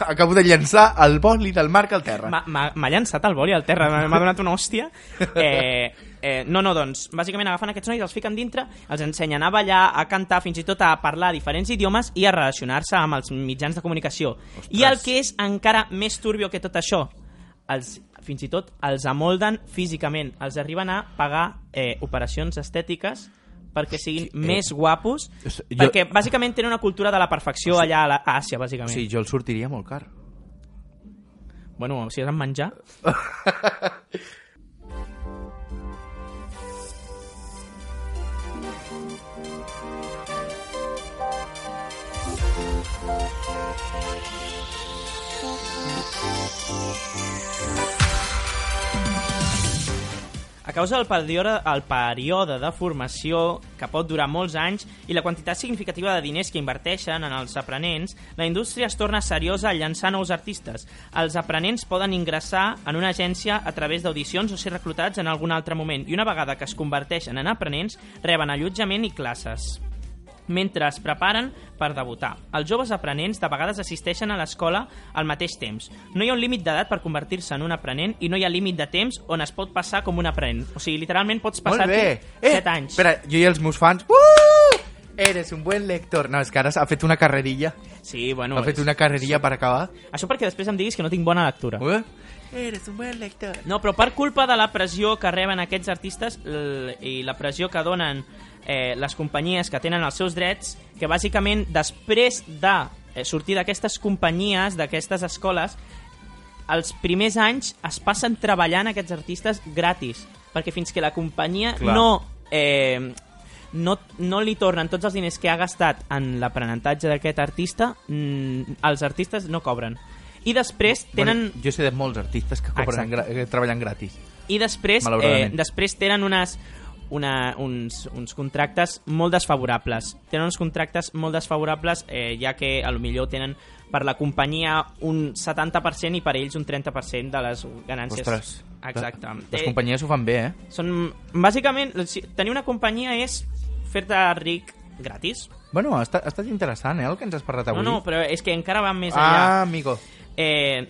Acabo de llançar el boli del Marc al terra. M'ha- M'ha m'ha llançat al boli al terra, m'ha m'ha donat una hòstia. Eh, eh, no, no, doncs, bàsicament agafen aquests nois, els fiquen dintre, els ensenyen a ballar, a cantar, fins i tot a parlar diferents idiomes i a relacionar-se amb els mitjans de comunicació. I el que és encara més turbio que tot això, els, fins i tot els amolden físicament, els arriben a pagar eh, operacions estètiques perquè siguin més guapos, Hosti, eh, jo- perquè bàsicament tenen una cultura de la perfecció allà a, la, a Àsia, bàsicament. Sí, jo el sortiria molt car. Bueno, si és en menjar... A causa del període, el període de formació, que pot durar molts anys, i la quantitat significativa de diners que inverteixen en els aprenents, la indústria es torna seriosa a llançar nous artistes. Els aprenents poden ingressar en una agència a través d'audicions o ser reclutats en algun altre moment, i una vegada que es converteixen en aprenents, reben allotjament i classes mentre es preparen per debutar. Els joves aprenents de vegades assisteixen a l'escola al mateix temps. No hi ha un límit d'edat per convertir-se en un aprenent i no hi ha límit de temps on es pot passar com un aprenent. O sigui, literalment pots Molt passar-te bé. Eh, 7 anys. Espera, jo i els meus fans... Uh! Eres un buen lector. No, és que ara ha fet una carrerilla. Sí, bueno, ha fet és- una carrerilla per acabar. això perquè després em diguis que no tinc bona lectura. Eh? Eres un buen lector. No, però per culpa de la pressió que reben aquests artistes l- i la pressió que donen eh, les companyies que tenen els seus drets, que bàsicament després de eh, sortir d'aquestes companyies, d'aquestes escoles, els primers anys es passen treballant aquests artistes gratis, perquè fins que la companyia Clar. no... Eh, no, no li tornen tots els diners que ha gastat en l'aprenentatge d'aquest artista, mm, els artistes no cobren. I després tenen... Bueno, jo sé de molts artistes que cobren Exacte. gra que treballen gratis. I després, eh, Malauradament. després tenen unes una, uns, uns contractes molt desfavorables. Tenen uns contractes molt desfavorables, eh, ja que a lo millor tenen per la companyia un 70% i per ells un 30% de les ganàncies. Ostres. Exacte. Les Eh, companyies ho fan bé, eh? són, bàsicament, si- tenir una companyia és fer-te ric gratis. Bueno, ha estat, ha estat interessant, eh, el que ens has parlat No, avui. no, però és que encara va més ah, enllà. amigo. Eh,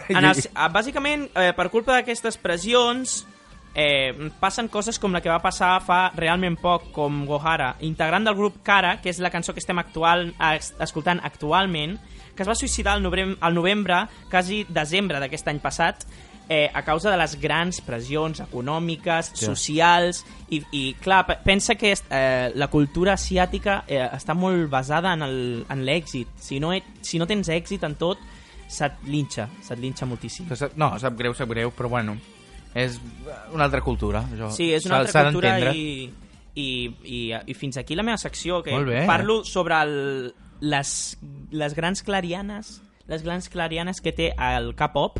en els, eh, bàsicament, eh, per culpa d'aquestes pressions, eh, passen coses com la que va passar fa realment poc, com Gohara, integrant del grup Kara, que és la cançó que estem actual, es- escoltant actualment, que es va suïcidar al novembre, al novembre quasi desembre d'aquest any passat, eh, a causa de les grans pressions econòmiques, socials, i, i clar, pe- pensa que eh, la cultura asiàtica eh, està molt basada en el- en l'èxit. Si, no et, si no tens èxit en tot, se't linxa, se't linxa moltíssim. Que sap- No, sap greu, sap greu, però bueno, és una altra cultura. Això. Sí, és S'ha- una altra s'ha cultura d'entendre. i, i, i, i fins aquí la meva secció, que Molt bé. parlo sobre el, les, les grans clarianes les grans clarianes que té el K-pop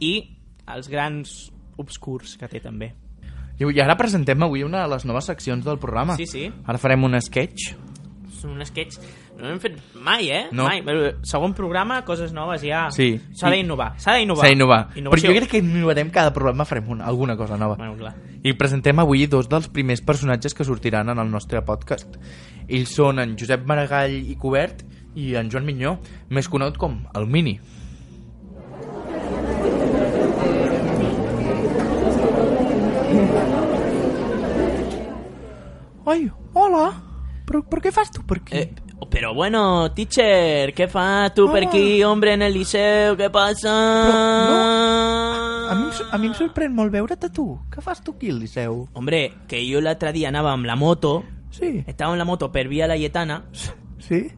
i els grans obscurs que té també. I, I ara presentem avui una de les noves seccions del programa. Sí, sí. Ara farem un sketch. Són un sketch... No hem fet mai, eh? No. Mai. Però Segon programa, coses noves ja... Sí. S'ha d'innovar. S'ha d'innovar. S'ha d'innovar. Però Innovació. jo crec que innovarem cada programa, farem una, alguna cosa nova. Bueno, clar. I presentem avui dos dels primers personatges que sortiran en el nostre podcast. Ells són en Josep Maragall i Cobert i en Joan Minyó, més conegut com el Mini. Ai, hola! Però, però què fas tu per aquí? Eh, pero bueno, teacher, ¿qué fa tú per aquí, Ah. hombre, en el liceu? ¿Qué pasa? a, mi, em sor- a mi em sorprèn molt veure't a tu. Què fas tu aquí al Liceu? Hombre, que yo el otro día andaba en la moto, Sí, estaba en la moto per vía Laietana, sí,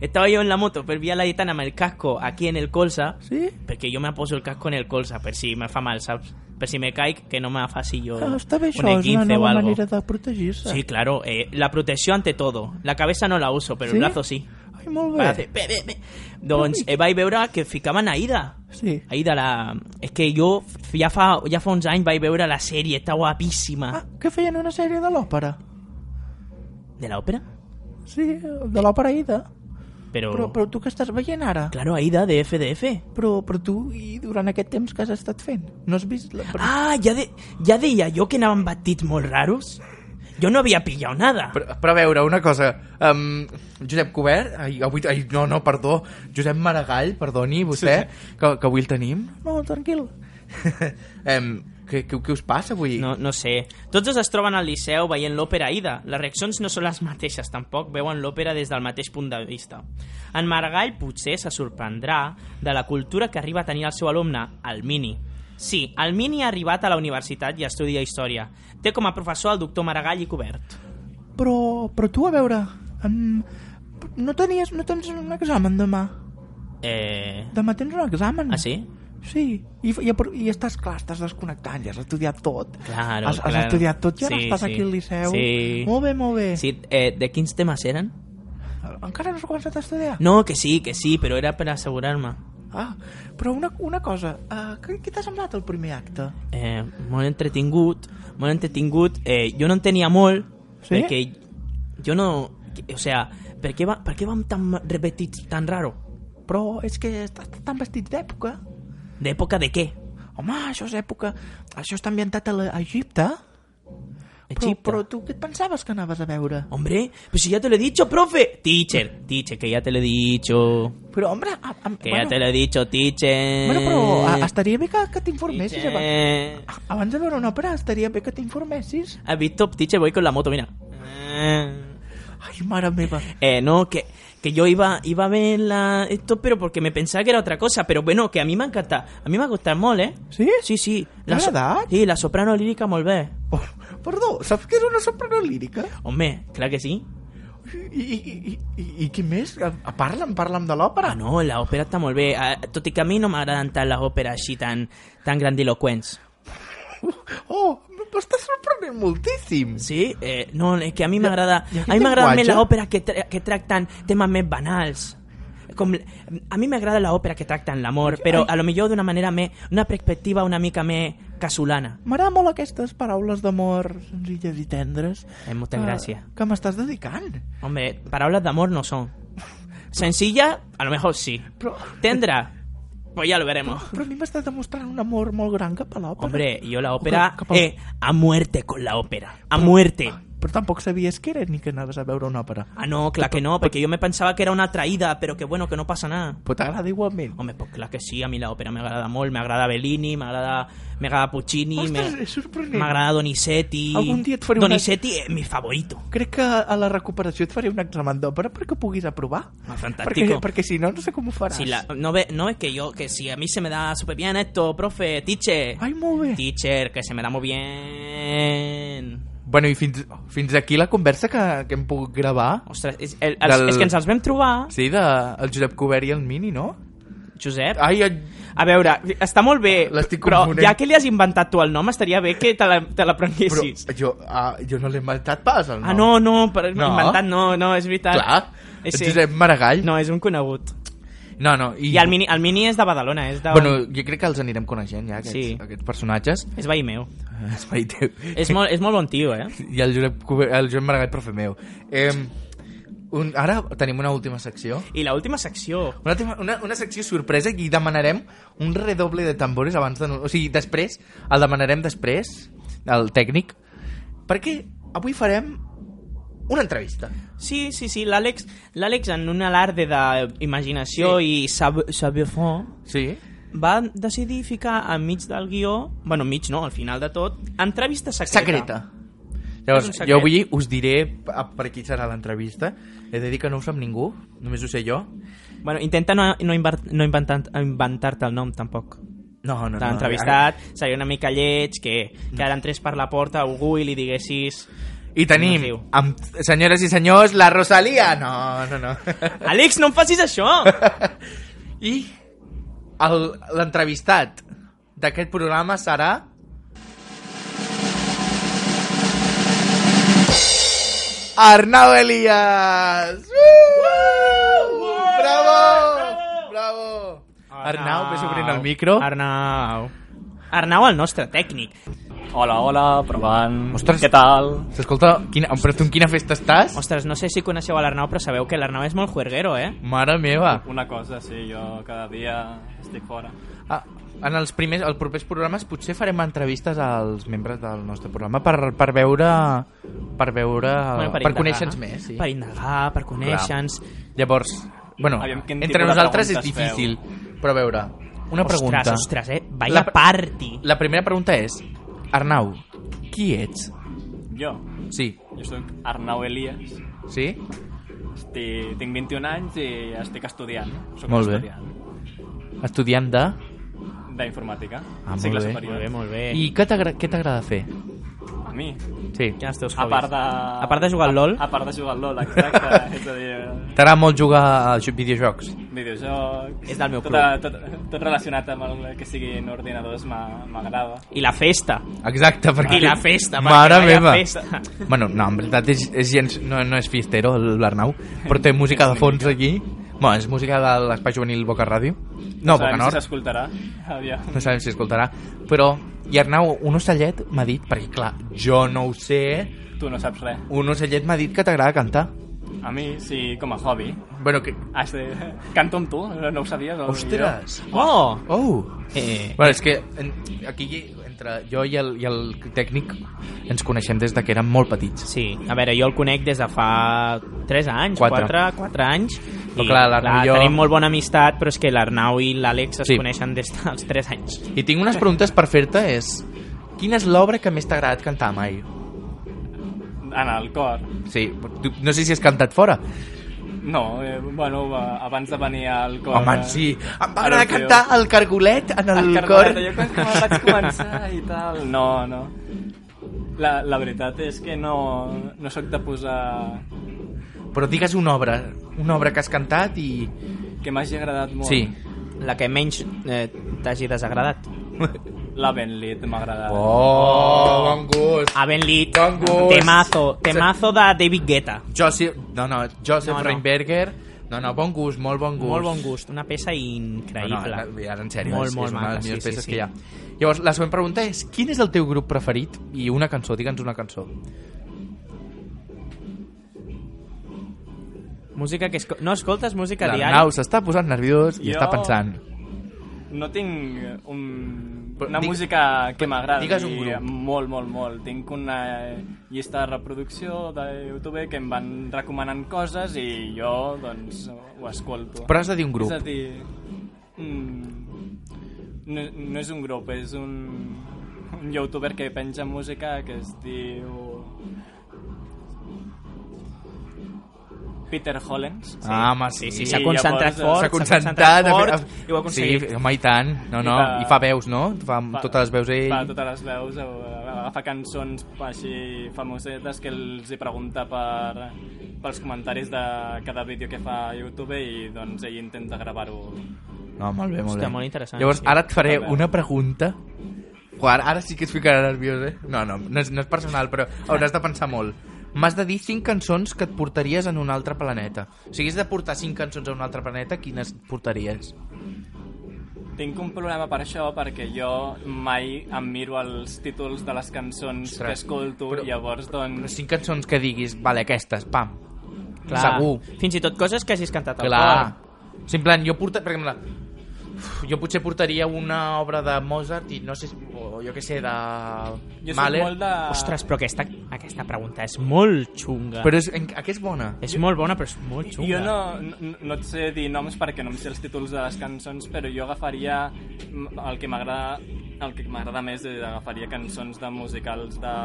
estaba yo en la moto per vía Laietana con el casco aquí en el colsa, sí. porque pues yo me aposo el casco en el colsa, per si me fa mal, ¿sabes? Per si me cae, que no me faci yo Ah, està bé això, un és una 15 o nova algo. manera de protegir-se. Sí, claro, eh, la protección ante todo. La cabeza no la uso, pero ¿Sí? el brazo sí. Ai, molt Va bé. fer, bé, bé, bé. Doncs eh, vaig veure que ficaven Aida. Sí. Aida, la... És que jo f- ja fa, ja fa uns anys vaig veure la sèrie, està guapíssima. Ah, que feien una sèrie de l'òpera. De l'òpera? Sí, de l'òpera Ida. Però... Però, però tu que estàs veient ara? Claro, Aida, de FDF. Però, però tu, i durant aquest temps que has estat fent? No has vist... La... Però, Ah, ja, de, ja deia jo que anaven vestits molt raros. Jo no havia pillat nada. Ah, però, però a veure, una cosa... Um, Josep Cobert... Ai, avui, ai, no, no, perdó. Josep Maragall, perdoni, vostè, sí. que, que avui el tenim. No, tranquil. um, què, què, què us passa avui? No, no sé. Tots dos es troben al Liceu veient l'òpera Aida. Les reaccions no són les mateixes, tampoc veuen l'òpera des del mateix punt de vista. En Margall potser se sorprendrà de la cultura que arriba a tenir el seu alumne, el Mini. Sí, el Mini ha arribat a la universitat i estudia Història. Té com a professor el doctor Maragall i Cobert. Però, però tu, a veure... Um, no tenies, no tens un examen demà. Eh... Demà tens un examen. Ah, sí? Sí, i, i, i estàs clar, estàs desconnectant, ja has estudiat tot. Claro, has, claro. Has estudiat tot, ja Sí, sí, estàs sí. aquí al Liceu. Sí. Molt bé, molt bé. Sí, eh, de quins temes eren? Encara no has començat a estudiar? No, que sí, que sí, però era per assegurar-me. Ah, però una, una cosa, uh, què, què t'ha semblat el primer acte? eh, molt entretingut, molt entretingut. Eh, jo no en tenia molt, Sí? perquè jo no... O sea, per què, va, per què vam tan repetits, tan raro? Però és que estàs tan vestit d'època. D'època de què? Home, això és època... Això està ambientat a l'Egipte. Però, Egipte. però tu què et pensaves que anaves a veure? Hombre, pues si ya te lo he dicho, profe. Teacher, teacher, que ya te lo he dicho. Però, home, a, a, Que ya te lo he dicho, teacher. bueno, però a, estaria bé que, que t'informessis. Abans, teacher. abans de veure una òpera, estaria bé que t'informessis. Has visto, teacher, voy con la moto, mira. Ay, mare meva. Eh, no, que, que yo iba, iba a ver la, esto, pero porque me pensaba que era otra cosa. Pero bueno, que a mí me encanta. A mí me gusta mole, ¿eh? Sí? Sí, sí. ¿De so- verdad? Sí, la soprano lírica molt bé. Oh, perdó, saps que és una soprano lírica? Home, clar que sí. I, i, i, i, i què més? A- a- Parla'm, parla'm de l'òpera. Ah, no, la òpera està molt bé. Ah, Tot i que a mi no m'agraden tant les òperes així tan, tan grandiloquents. Oh, m'està sorprenent moltíssim. Sí? Eh, no, és que a mi m'agrada... i aquest A mi m'agraden llenguatge? més les òperes que, tra que tracten temes més banals. com... A mi m'agrada l'òpera que tracta en l'amor, però a lo millor d'una manera més... una perspectiva una mica més casolana. M'agraden molt aquestes paraules d'amor senzilles i tendres. Eh, molta eh, gràcia. Que m'estàs dedicant. Hombre, paraules d'amor no son. Sencilla, a lo mejor sí. Però, Tendra, pues ya lo veremos. però a mi m'estàs demostrant un amor molt gran cap a l'òpera. Hombre, yo la O ópera... cap- cap al- Eh, a muerte con la ópera. A muerte. Però tampoc sabies què era ni que anaves a veure una òpera. Ah, no, claro que no, porque yo me pensaba que era una traída, pero que bueno, que no pasa nada. Però t'agrada igualment. Hombre, pues claro que sí, a mí la ópera me agrada molt, me agrada Bellini, me agrada, me agrada Puccini, Ostres, me, és sorprenent. me agrada Donizetti. Algun dia et faré una- Donizetti és mi favorito. Crec que a la recuperació et faré un examen d'òpera perquè ho puguis aprovar. Ah, Perquè, fantástico. perquè si no, no sé com ho faràs. Si la- no, ve, no es que yo, que si a mí se me da súper bien esto, profe, teacher. Ai, molt bé. Teacher, que se me da muy bien. Bueno, i fins, fins aquí la conversa que, que hem pogut gravar. Ostres, és, el, els, Del- és que ens els vam trobar, Sí, de el Josep Cobert i el Mini, no? Josep. Ai, ai... A veure, està molt bé, Ah. L'estic però confonent. ja que li has inventat tu el nom, estaria bé que te la, te la Però prenguessis. jo, ah, jo no l'he inventat pas, el nom. Ah, no, no, per No. inventat no, no, és veritat. Clar, Eh, és sí. Josep Maragall. No, és un conegut. no, no i... I el mini, el mini és de Badalona, és de... Bueno, jo crec que els anirem coneixent ja, aquests, Sí. aquests personatges. És veí meu. Espai teu. És molt, és molt bon tio, eh? I el Josep, Cobert, el Josep Maragall, profe meu. Eh, un, ara tenim una última secció. I la última secció. Una, tema, una, una secció sorpresa i demanarem un redoble de tambores abans de... no- O sigui, després, el demanarem després, el tècnic, perquè avui farem una entrevista. Sí, sí, sí, l'Àlex, l'Àlex en un alarde d'imaginació sí. i sab- saber fer Sí. va decidir ficar enmig del guió, bueno, enmig no, al final de tot, entrevista secreta. Secreta. Llavors, És un secret. jo avui us diré a- per qui serà l'entrevista. He de dir que no ho sap ningú, només ho sé jo. Bueno, intenta no, no, invar- no inventar- inventar-te el nom, tampoc. No, no, Mm. no. T'ha entrevistat, seria una mica lleig que, que ara entrés per la porta algú i li diguessis I tenim, No es diu. amb, senyores i senyors, la Rosalia. No, no, no. Àlex, no em facis això! I el- l'entrevistat d'aquest programa serà... Arnau Elias! Uh! Bravo! Bravo! Arnau, ves obrint el micro. Arnau. Arnau, el nostre tècnic. Hola, hola, provant. Ostres. Què tal? S'escolta, quina, però tu en quina festa estàs? Ostres, no sé si coneixeu a l'Arnau, però sabeu que l'Arnau és molt juerguero, eh? Mare meva! Una cosa, sí, jo cada dia estic fora. Ah, en els, primers, els propers programes potser farem entrevistes als membres del nostre programa per, per veure... Per veure... Bueno, per indagar. conèixer-nos més, sí. Per indagar, per conèixer-nos. Llavors, bueno, Aviam quin entre tipus de nosaltres és preguntes difícil, però a veure, una pregunta. Ostres, ostres, eh? Vaya La- la... party. La primera pregunta és, Arnau, qui ets? Jo, Sí, jo sóc Arnau Elias, sí? estic, tinc 21 anys i estic estudiant. Soc Molt bé. estudiant Estudiant de... d'informàtica. Ah, molt cicle bé. superior. Molt bé, molt bé. I què t'agra- què t'agrada fer? A mi, Sí. Quins teus a hobbies? part de... A part de jugar al LOL? A part de jugar al LOL, exacte. és a dir, T'agrada molt jugar a jo- videojocs? videojocs... És del meu tot, club. tot, tot relacionat amb el que siguin ordinadors m'a- m'agrada. I la festa. Exacte, perquè... I la festa, perquè Mare vaya meva. festa. Bueno, no, en veritat és, és gens, no, no és fiestero, l'Arnau, però té música de fons aquí. Bueno, és música de l'Espai Juvenil Boca Ràdio. Oh, No, Boca Sabem si Nord. s'escoltarà. Aviam. No sabem si escoltarà. Però, i Arnau, un ocellet m'ha dit, perquè clar, jo no ho sé, Tu no saps res. un ocellet m'ha dit que t'agrada cantar. A mi, sí, com a hobby. Bueno, que... Has de... Canto amb tu, no ho sabies? o Ostres! Oh! Oh! Eh, Bueno, és que en, aquí, entre jo i el, i el tècnic, ens coneixem des de que érem molt petits. sí, a veure, jo el conec des de fa 3 anys, Quatre. 4, 4 anys. Però clar, l'Arnau i jo- Tenim molt bona amistat, però és que l'Arnau i l'Àlex es Sí. sí. coneixen des dels 3 anys. I tinc unes preguntes per fer-te, és... Quina és l'obra que més t'ha agradat cantar mai? Jo, en el cor. Sí, tu- no sé si has cantat fora. No, eh, bueno, va, abans de venir al cor... Home, eh, sí. Em va a agradar l'Orfeo. cantar el cargolet en el, El cor. cor... Jo quan quan vaig començar i tal... No, no. La, la veritat és que no, no sóc de posar... Però digues una obra, una obra que has cantat i... Que m'hagi agradat molt. Sí. La que menys eh, t'hagi desagradat. La Benlit m'ha agradat. Oh, bon gust. Aven Lit, Bon gust. temazo, temazo de David Guetta. Joseph, no, no, Joseph No, no. Reinberger, No, no, bon gust, molt bon gust. Molt bon gust, una peça increïble. No, no, ara, en sèrio, Molt, és, molt és una de maca, les millors sí, sí, peces sí. que hi ha. Llavors, la següent pregunta és, quin és el teu grup preferit? I una cançó, digue'ns una cançó. Música que... Esco... No escoltes música a L'Arnau diari? s'està posant nerviós i Jo- està pensant. No tinc un, Però una dic- música que però m'agradi digues un grup. molt, molt, molt. Tinc una eh, llista de reproducció de YouTube que em van recomanant coses i jo, doncs, ho escolto. Però has de dir un grup. És a dir... Mm, no, no és un grup, és un, un youtuber que penja música que es diu... Peter Hollens. Ah, home, sí. Sí, sí, I s'ha concentrat llavors, eh, fort, S'ha concentrat. fort, a fer- i ho ha aconseguit. Sí, home, i tant. No, no. fa- I fa veus, no? Fa Fa- totes les veus ell. Fa totes les veus, eh, agafa cançons així famosetes que els hi pregunta per, pels comentaris de cada vídeo que fa a YouTube i doncs ell intenta gravar-ho. No, molt bé, molt Hòstia, bé. molt interessant, Llavors, sí. ara et faré Molt bé. una pregunta. Ua, Ara, ara sí que et ficarà nerviós, eh? No, no, no és, no és personal, però hauràs de pensar molt. M'has de dir 5 cançons que et portaries en un altre planeta. O sigui, has de portar 5 cançons a un altre planeta, quines et portaries? Tinc un problema per això perquè jo mai em miro els títols de les cançons Ostres, que escolto però- i llavors Les doncs... 5 cançons que diguis, vale, aquestes, pam. Segur. Fins i tot coses que hagis cantat al Clar. cor. O sigui, en plan, jo porta... Per exemple, uf, jo potser portaria una obra de Mozart i no sé, si- o jo què sé, de... Jo soc Mahler. molt de... Ostres, però aquesta, aquesta pregunta és molt xunga. Però és, en, aquesta és bona. És molt bona, però és molt xunga. Jo no, no, "Oh, no et sé dir noms perquè no em sé els títols de les cançons, però jo agafaria mm, el que m'agrada el que m'agrada més és agafaria cançons de musicals de,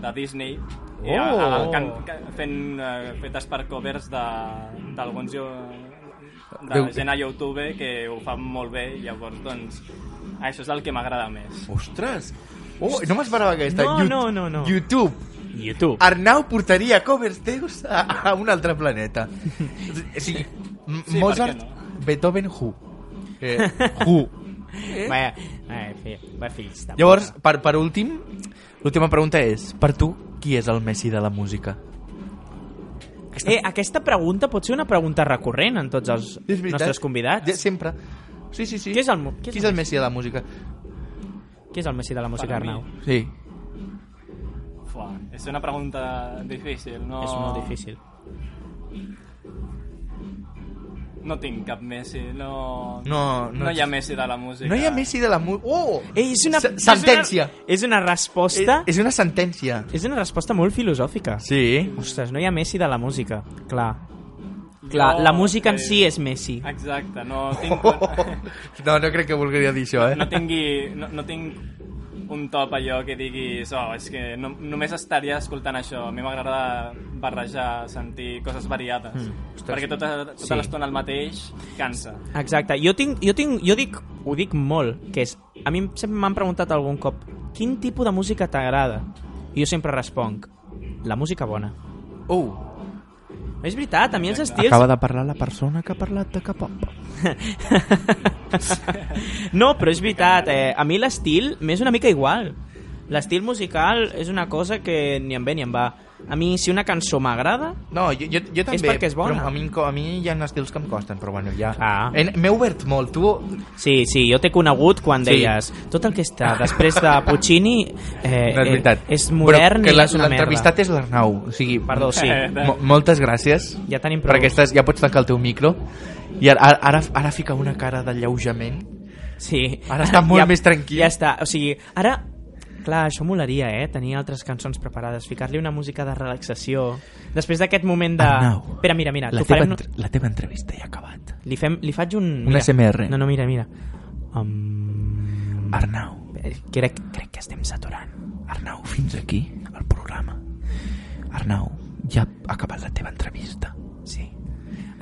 de Disney i a, a, Oh! can, can, fent, eh, fetes per covers de- d'alguns jo- de, Déu- de gent a YouTube que ho fa molt bé i llavors doncs això és el que m'agrada més Ostres! Oh, no m'esperava aquesta. No, Yout- no, no, no. YouTube. YouTube. Arnau portaria covers teus a, a un altre planeta. O sigui, m- Sí, Mozart, per què Beethoven, Who. Eh, who. Vaja, vaja, Eh? fi, vaja, fills de Llavors, puta. per, per últim, l'última pregunta és, per tu, qui és el Messi de la música? Eh, aquesta pregunta pot ser una pregunta recurrent en tots els És veritat. nostres convidats. Ja, sempre. Sí, sí, sí. Qui és el mo- qui és el Messi de la música? Qui és el Messi de la música, Per mi. Arnau? Sí. Fuà, és una pregunta difícil no, És molt difícil. no tinc cap Messi no, No, no no hi ha ets- Messi de la música No hi ha Messi de la música. Oh! Ei, és una... Se- Sentència. Eh, És una, és una resposta... És, és una sentència. És una resposta molt filosòfica. Sí. Ostres, no hi ha Messi de la música. Clar. Jo- Clar, la música en eh, si és Messi. Exacte, no tinc, No, no crec que voldria dir això, eh? no, tingui, no, no tinc un top allò que diguis oh, és que no, només estaria escoltant això a mi m'agrada barrejar, sentir coses variades mm, ostres. perquè tota, tota Sí. l'estona el mateix cansa Exacte. Jo, tinc, jo, tinc, jo dic, ho dic molt, que és... A mi sempre m'han preguntat algun cop quin tipus de música t'agrada? I jo sempre responc la música bona. Uh, És veritat, a mi els estils... acaba de parlar la persona que ha parlat de cap no, però és veritat, eh, a mi l'estil m'és una mica igual. L'estil musical és una cosa que ni em ve ni em va. A mi, si una cançó m'agrada... No, jo, jo, jo també. perquè és bona. Però a mi, em co- a mi hi ha estils que em costen, però bueno, ja... Ah. En- M'he obert molt. Tu... Sí, sí, jo t'he conegut quan Sí. deies tot el que està després de Puccini eh, No, és veritat. Eh, és modern però que i la- és una merda. L'entrevistat és l'Arnau. O sigui, Perdó, sí. mo- moltes gràcies. Ja tenim prou. per aquestes, ja pots tancar el teu micro. I ara, ara, ara, ara fica una cara d'alleujament. Sí. Ara està molt més tranquil. Ja està. O sigui, ara... Clar, això molaria, eh? Tenir altres cançons preparades, ficar-li una música de relaxació. Després d'aquest moment de... Arnau, Espera, mira, mira. La, t'ho teva, farem... entre- la teva entrevista ja ha acabat. Li, fem, li faig un... Un ASMR. No, no, mira, mira. Um... Arnau, Eh, Crec, crec que estem saturant. Arnau, fins aquí el programa. Arnau, ja ha acabat la teva entrevista. Sí.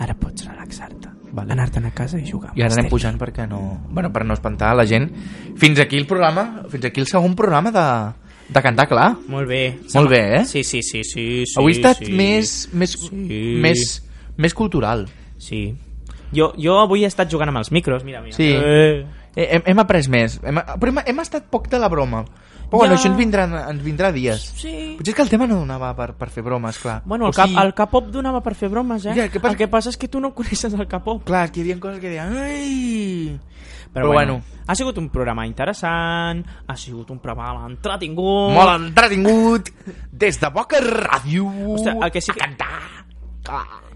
Ara pots relaxar-te. Vale. Anar-te'n a casa i jugar. amb I ara els anem tenis. pujant perquè no... Bueno, per no espantar la gent. Fins aquí el programa, fins aquí el segon programa de, de Cantar Clar. Molt bé. Molt bé, eh? Sí, sí, sí, sí, sí Avui ha estat sí. més, més, Sí. més, més cultural. Sí. Jo, jo avui he estat jugant amb els micros, mira, mira. Sí. Eh. Eh, Hem, hem après més. Hem, però hem, hem estat poc de la broma. Però bueno, Ja. això ens vindrà, ens vindrà dies. Sí. Potser és que el tema no donava per, per fer bromes, clar. Bueno, O el, cap, sí. el K-pop donava per fer bromes, eh? Ja, el que passa- El que passa és que tu no coneixes el K-pop. Clar, és que hi havia coses que deien... Ai... Però, Però bueno, bueno, ha sigut un programa interessant, ha sigut un programa entretingut... Molt entretingut des de Boca Ràdio. Ostres, el que sí que... Ah,